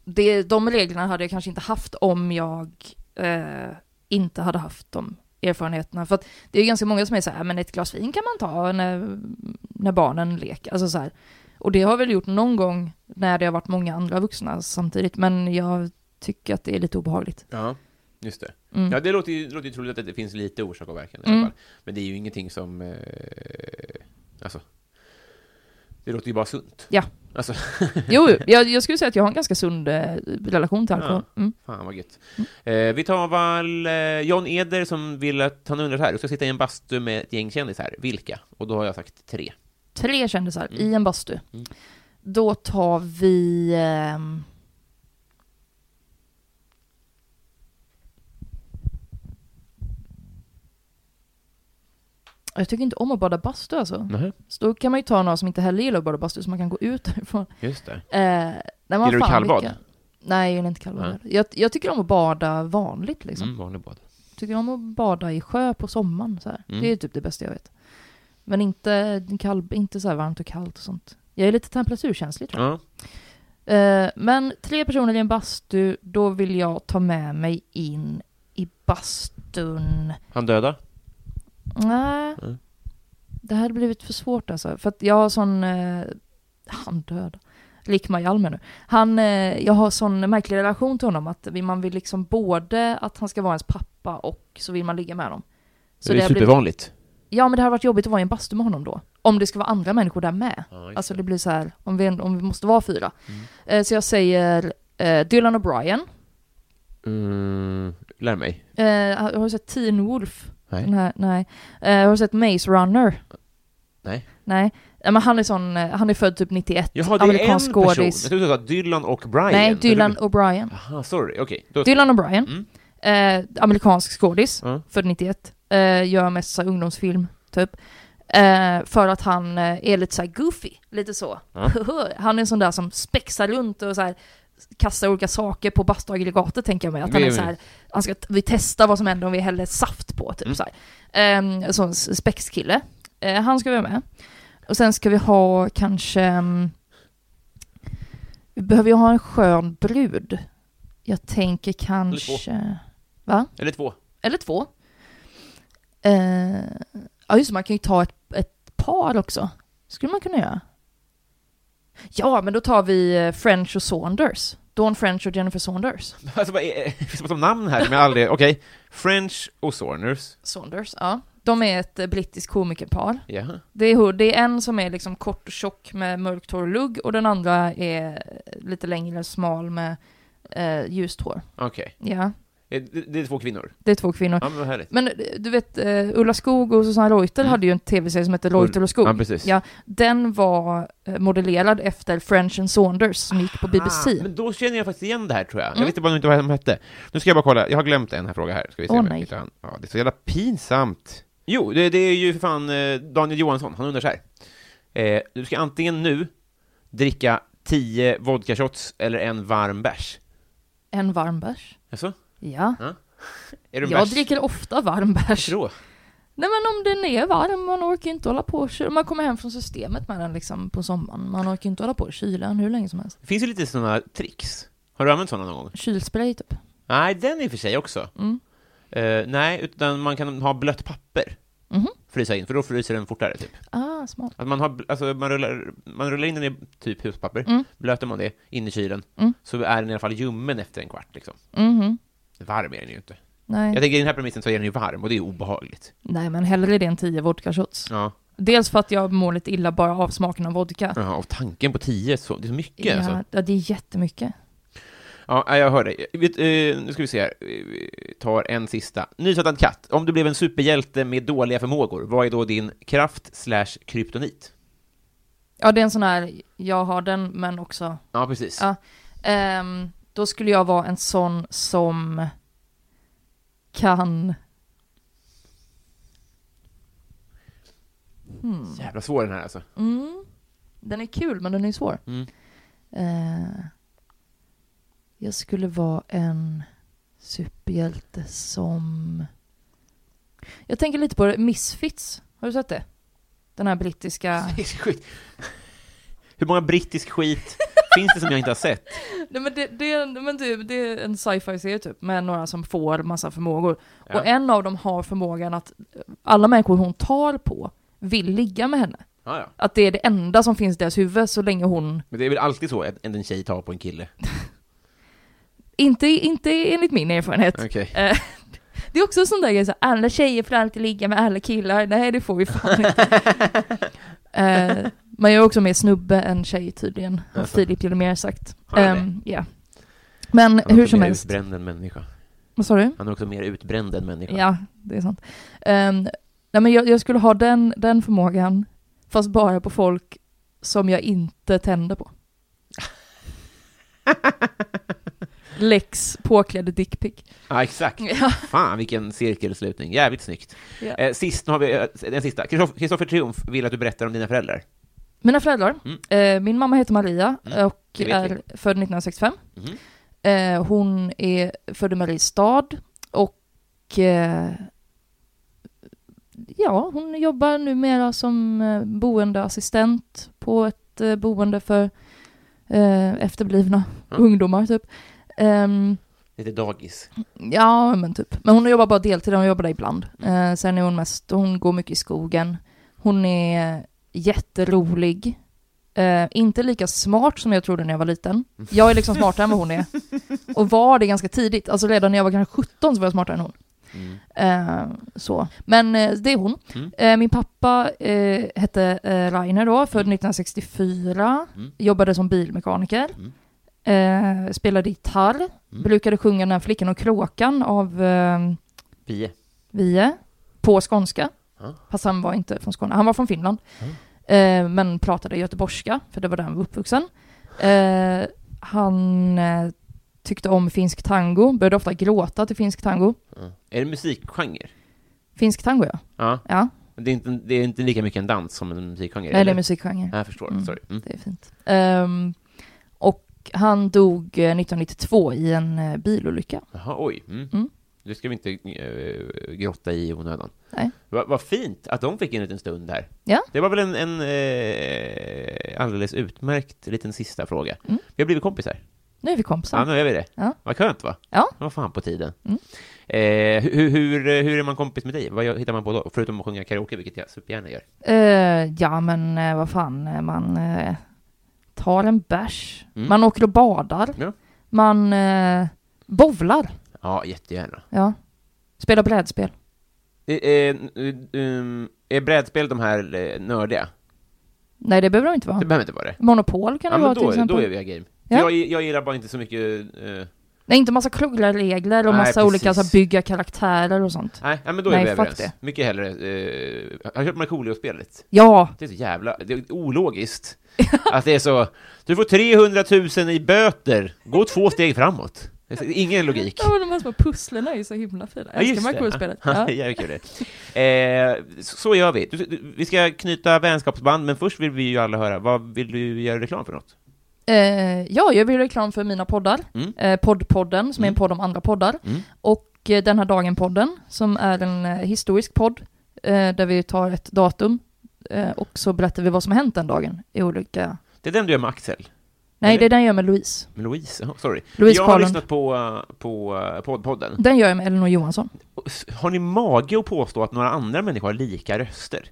det, De reglerna hade jag kanske inte haft om jag eh, inte hade haft de erfarenheterna. För att det är ju ganska många som är så här, men ett glas vin kan man ta när, när barnen leker, alltså så här. Och det har jag väl gjort någon gång när det har varit många andra vuxna samtidigt, men jag tycker att det är lite obehagligt. Ja, just det. Mm. Ja, det låter ju, det låter ju troligt att det finns lite orsak och verkan i Mm. alla fall. Men det är ju ingenting som... Eh, alltså, det låter ju bara sunt. Ja. Alltså, Jo, jag, jag skulle säga att jag har en ganska sund eh, relation till alkohol. Mm. Fan vad gött. Eh, vi tar väl eh, John Eder som vill att, han undrar så här, du ska sitta i en bastu med ett gäng kändisar här, vilka? Och då har jag sagt tre. Tre kändisar i en bastu. Mm. Då tar vi... ehm, Jag tycker inte om att bada bastu alltså. Nej, Så då kan man ju ta några som inte heller gillar att bada bastu så man kan gå ut därifrån. just det. Eh, nej, men vad Gillar du fan, kallbad? vilka- Nej, jag gillar inte kallbad. Nej. Jag, jag tycker om att bada vanligt liksom. Mm, vanlig bad. tycker om att bada i sjö på sommaren. Så här. Mm. Det är typ det bästa jag vet. Men inte, kall, inte så här varmt och kallt och sånt. Jag är lite temperaturkänslig tror jag. Ja. Eh, men tre personer i en bastu, då vill jag ta med mig in i bastun. Han döda? Nej. Nej. Det här hade blivit för svårt alltså. För att jag har sån... Eh, han död. Lik Malmer nu. Han, eh, jag har sån märklig relation till honom att vi- man vill liksom både att han ska vara ens pappa och så vill man ligga med honom. Så det det är har blivit- supervanligt. Ja men det hade varit jobbigt att vara i en bastu med honom då. Om det ska vara andra människor där med. Ja, just alltså det. det blir så här, om vi, om vi måste vara fyra. Eh, så jag säger eh, Dylan O'Brien. Mm, lär mig. Eh, har du sett Teen Wolf? Nej. Den här, nej. Eh, har du sett Maze Runner? Nej. Nej. Ja, men han är sån, eh, han är född typ 91. Jaha, det är en person. Jag skådis. trodde du sa Dylan och Brian. Nej, Jag trodde- Dylan O'Brien. Aha, sorry. Okej. Då- Dylan O'Brien. Eh, amerikansk skådis, Ja. född 91. Eh, gör mest så här ungdomsfilm, typ. Eh, för att han eh, är lite så här goofy, lite så. han är en sån där som spexar runt och så här kastar olika saker på bastuaggregatet tänker jag mig. Att han är så här, han ska, vi testar vad som händer om vi häller saft på, typ så här. Eh, sån s- spexkille. Eh, han ska vara med. Och sen ska vi ha kanske... mm, Vi behöver ju ha en skön brud. Jag tänker två. kanske... Va? Eller två. Eller två. Eh, ja, just det, man kan ju ta ett, ett par också. skulle man kunna göra. Ja, men då tar vi eh, French och Saunders. Dawn French och Jennifer Saunders. Alltså, vad är- det finns massor av namn här som jag aldrig... Okej. French och Saunders. Saunders, ja. De är ett eh, brittiskt komikerpar. Jaha. Det är, hur- det är en som är liksom kort och tjock med mörkt hår och lugg och den andra är lite längre smal med eh, ljust hår. Okej. Ja, Det, det är två kvinnor. det är två kvinnor. Ja, men vad härligt. Men eh, du vet, eh, Ulla Skog och Susanne Reuter hade ju en tv-serie som hette Reuter och Skog. Mm. Ja, precis. Ja, den var eh, modellerad efter French and Saunders som gick på Ah, BBC. men då känner jag faktiskt igen det här, tror jag. Mm. Jag visste bara inte vad de hette. Nu ska jag bara kolla. Jag har glömt en här fråga här. Ska vi se Åh, om jag nej. hittar han. Ja, det är så jävla pinsamt. Jo, det, det är ju för fan eh, Daniel Johansson. Han undrar så här. Eh, du ska antingen nu dricka 10 vodkashots eller en varm bärs. En varm bärs. Jaså? Ja, Är du en jag bärs? dricker ofta varm bärs. Då? Nej men om den är varm, man orkar ju inte hålla på och kyla. Man kommer hem från systemet med den liksom på sommaren. Man orkar ju inte hålla på och kyla den hur länge som helst. Det finns ju lite sådana tricks. Har du använt sådana någon gång? Kylspray typ. Nej, den i och för sig också. Mm. Eh, nej, utan man kan ha blött papper. Mhm. Frysa in, för då fryser den fortare, typ. Ah, smart. Att man, har, alltså, man, rullar, man rullar in den i typ huspapper, Mm. blöter man det in i kylen, Mm. så är den i alla fall ljummen efter en kvart. Liksom. Mhm. Varm är den ju inte. Nej. Jag tänker i den här premissen så är den ju varm, och det är obehagligt. Nej men hellre det än 10 vodkashots. Ja. Dels för att jag mår lite illa bara av smaken av vodka. Ja, och tanken på tio, så, det är så mycket ja. Ja, alltså. ja, det är jättemycket. Ja, nej, jag hör dig. Jag Vet, eh, nu ska vi se här, Vi tar en sista. Nysättad katt, om du blev en superhjälte med dåliga förmågor, vad är då din kraft slash kryptonit? Ja, det är en sån här, jag har den, men också... Ja, precis. Ja. Ehm, då skulle jag vara en sån som kan... Jävla svår den här alltså. Mm, den är kul, men den är svår. Mm. Eh, jag skulle vara en superhjälte som... Jag tänker lite på det, Misfits. Har du sett det? Den här brittiska... Skit. Hur många brittisk skit finns det som jag inte har sett? Nej men det, det, är, en- men typ, det är en sci-fi-serie typ, med några som får massa förmågor. Ja. Och en av dem har förmågan att alla människor hon tar på vill ligga med henne. Ja, ja. Att det är det enda som finns i deras huvud så länge hon... Men det är väl alltid så att en tjej tar på en kille? Inte, inte enligt min erfarenhet. Okej. Eh, det är också en sån där grej, så här, alla tjejer får alltid ligga med alla killar. Nej, det får vi fan inte. eh, man gör också mer snubbe än tjej tydligen, har Jaså. Filip Jelmer sagt. Har han det? Ehm, Ja. Men Han är hur också som mer helst. utbränd än människa. Vad sa du? Han är också mer utbränd än människa. Ja, det är sant. Ehm, nej, men jag, jag skulle ha den, den förmågan, fast bara på folk som jag inte tänder på. Lex påklädd dickpic. Ja, exakt. Ja. Fan, vilken cirkelslutning. Jävligt snyggt. Ja. Eh, sist, nu har vi eh, den sista. Kristoff- Kristoffer Triumf vill att du berättar om dina föräldrar. Mina föräldrar, Mm. eh, min mamma heter Maria Mm, och det vet är vi. född 1965. Mhm. Eh, hon är född i Mariestad och eh, ja, hon jobbar numera som eh, boendeassistent på ett eh, boende för eh, efterblivna Mm. ungdomar typ. Ehm, Lite dagis. ja, men typ. Men hon jobbar bara deltid, hon jobbar där ibland. Eh, sen är hon mest, hon går mycket i skogen. Hon är jätterolig. Eh, inte lika smart som jag trodde när jag var liten. Jag är liksom smartare än vad hon är. Och var det ganska tidigt. Alltså redan när jag var kanske 17 så var jag smartare än hon. Mm. Eh, så. Men eh, det är hon. Mm. Eh, min pappa eh, hette eh, Rainer då, född 1964. Mm. Jobbade som bilmekaniker. Eh, spelade gitarr. Brukade sjunga den här flickan och kråkan av eh, Pie. Vie på skånska. Ja. Fast han var inte från Skåne, han var från Finland. Eh, men pratade göteborgska, för det var där han var uppvuxen. Eh, han eh, tyckte om finsk tango, började ofta gråta till finsk tango. Ja. Är det musikgenre? Finsk tango ja. Ja. Ja, Det är, inte, det är inte lika mycket en dans som en musikgenre? eller musik. musikgenre. Jag förstår. Mm. Sorry. Mm. Det är fint. Ehm, och han dog eh, 1992 i en eh, bilolycka. Jaha, oj. Mm. Det ska vi inte eh, grotta i i onödan. Nej. Vad vad fint att de fick en liten stund där. Ja. Det var väl en, en eh, alldeles utmärkt liten sista fråga. Vi har blivit kompisar. Nu är vi kompisar. Ja, nu är vi det. Mm. Ja. Vad skönt va? Ja. Mm. Det var fan på tiden. Eh, hur, hur, hur är man kompis med dig? Vad gör- hittar man på då? Förutom att sjunga karaoke, vilket jag supergärna gör. Eh, ja, men eh, vad fan, eh, man eh, tar en bärs, man åker och badar, Mm. Ja. man eh, bowlar, Ja, jättegärna. ja. spelar brädspel. Eh, eh, um, är brädspel de här eh, nördiga? Nej, det behöver de inte vara. Det behöver inte vara det. Monopol kan det Ja, men vara till då, är- exempel. då är vi game. Ja. Jag, jag gillar bara inte så mycket... Eh, Nej, inte massa krångliga regler och Nej, massa precis. olika så här, bygga karaktärer och sånt. nej, nej, men då är Nej, vi fuck överens. det. Mycket hellre... Eh, har du kört Markoolio-spelet? Ja, Det är så jävla... Det är ologiskt. att det är så... Du får 300 000 i böter. Gå två steg framåt. Det är så- Ingen logik. ja de här små pusslerna är ju så himla fina. Jag älskar Markoolio-spelet. Ja. Ja. Jävligt kul det. Eh, så- så gör vi. Du, du, vi ska knyta vänskapsband, men först vill vi ju alla höra, vad vill du göra reklam för något? Eh, ja, jag vill reklam för mina poddar. Mm. Eh, poddpodden, som är en podd om andra poddar. Mm. Och eh, Den här dagen-podden, som är en eh, historisk podd, eh, där vi tar ett datum eh, och så berättar vi vad som har hänt den dagen i olika... Det är den du gör med Axel. Nej, Eller- det är den jag gör med Louise. Med Louise, Jaha, sorry. Louise jag har Karlund. lyssnat på, eh, på eh, poddpodden. Den gör jag med Elinor Johansson. Och s- Har ni mage att påstå att några andra människor har lika röster?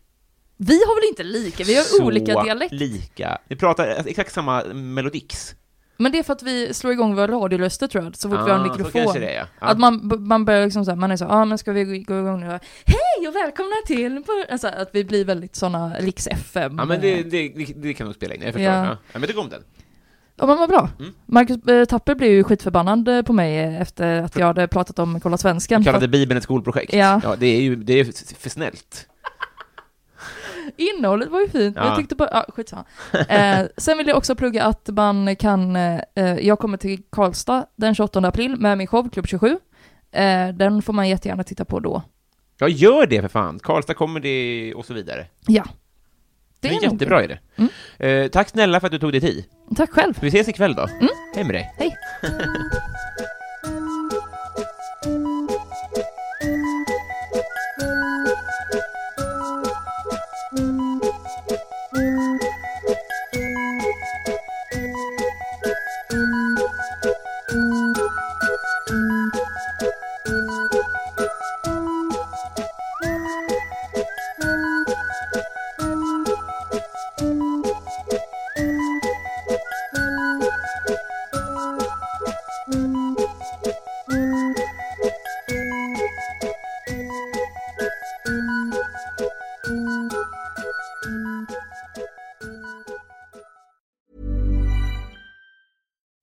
Vi har väl inte lika, vi har Så olika dialekter. lika. Vi pratar eh, exakt samma melodix. Men det är för att vi slår igång våra radioröster tror jag, så fort vi har en Ah, så mikrofon. kanske det är, ja. Ja. Att man, b- man börjar liksom såhär, man är så ja ah, men ska vi gå- gå igång nu? Hej och välkomna till... på-" Alltså, att vi blir väldigt såna riks FM. Ja, men det, det, det, det kan nog spela in, jag förstår. Ja. Ja. Ja, men det om den. Ja men vad bra. Mm. Marcus eh, Tapper blev ju skitförbannad eh, på mig eh, efter att jag hade pratat om Kolla Svensken. Jag kallade Bibeln ett skolprojekt. Ja. Ja, det är ju det är f- för snällt. Innehållet var ju fint, men Ja. jag tyckte bara, ja skitsamma. eh, sen vill jag också plugga att man kan, eh, eh, jag kommer till Karlstad den 28 april med min show Klubb 27. Eh, den får man jättegärna titta på då. Jag gör det för fan. Karlstad kommer det och så vidare. Ja. Det är en nog Mm. jättebra idé. Eh, tack snälla för att du tog dig tid. det. Tack själv. Vi ses ikväll då. Mm. Hej med dig. Hej.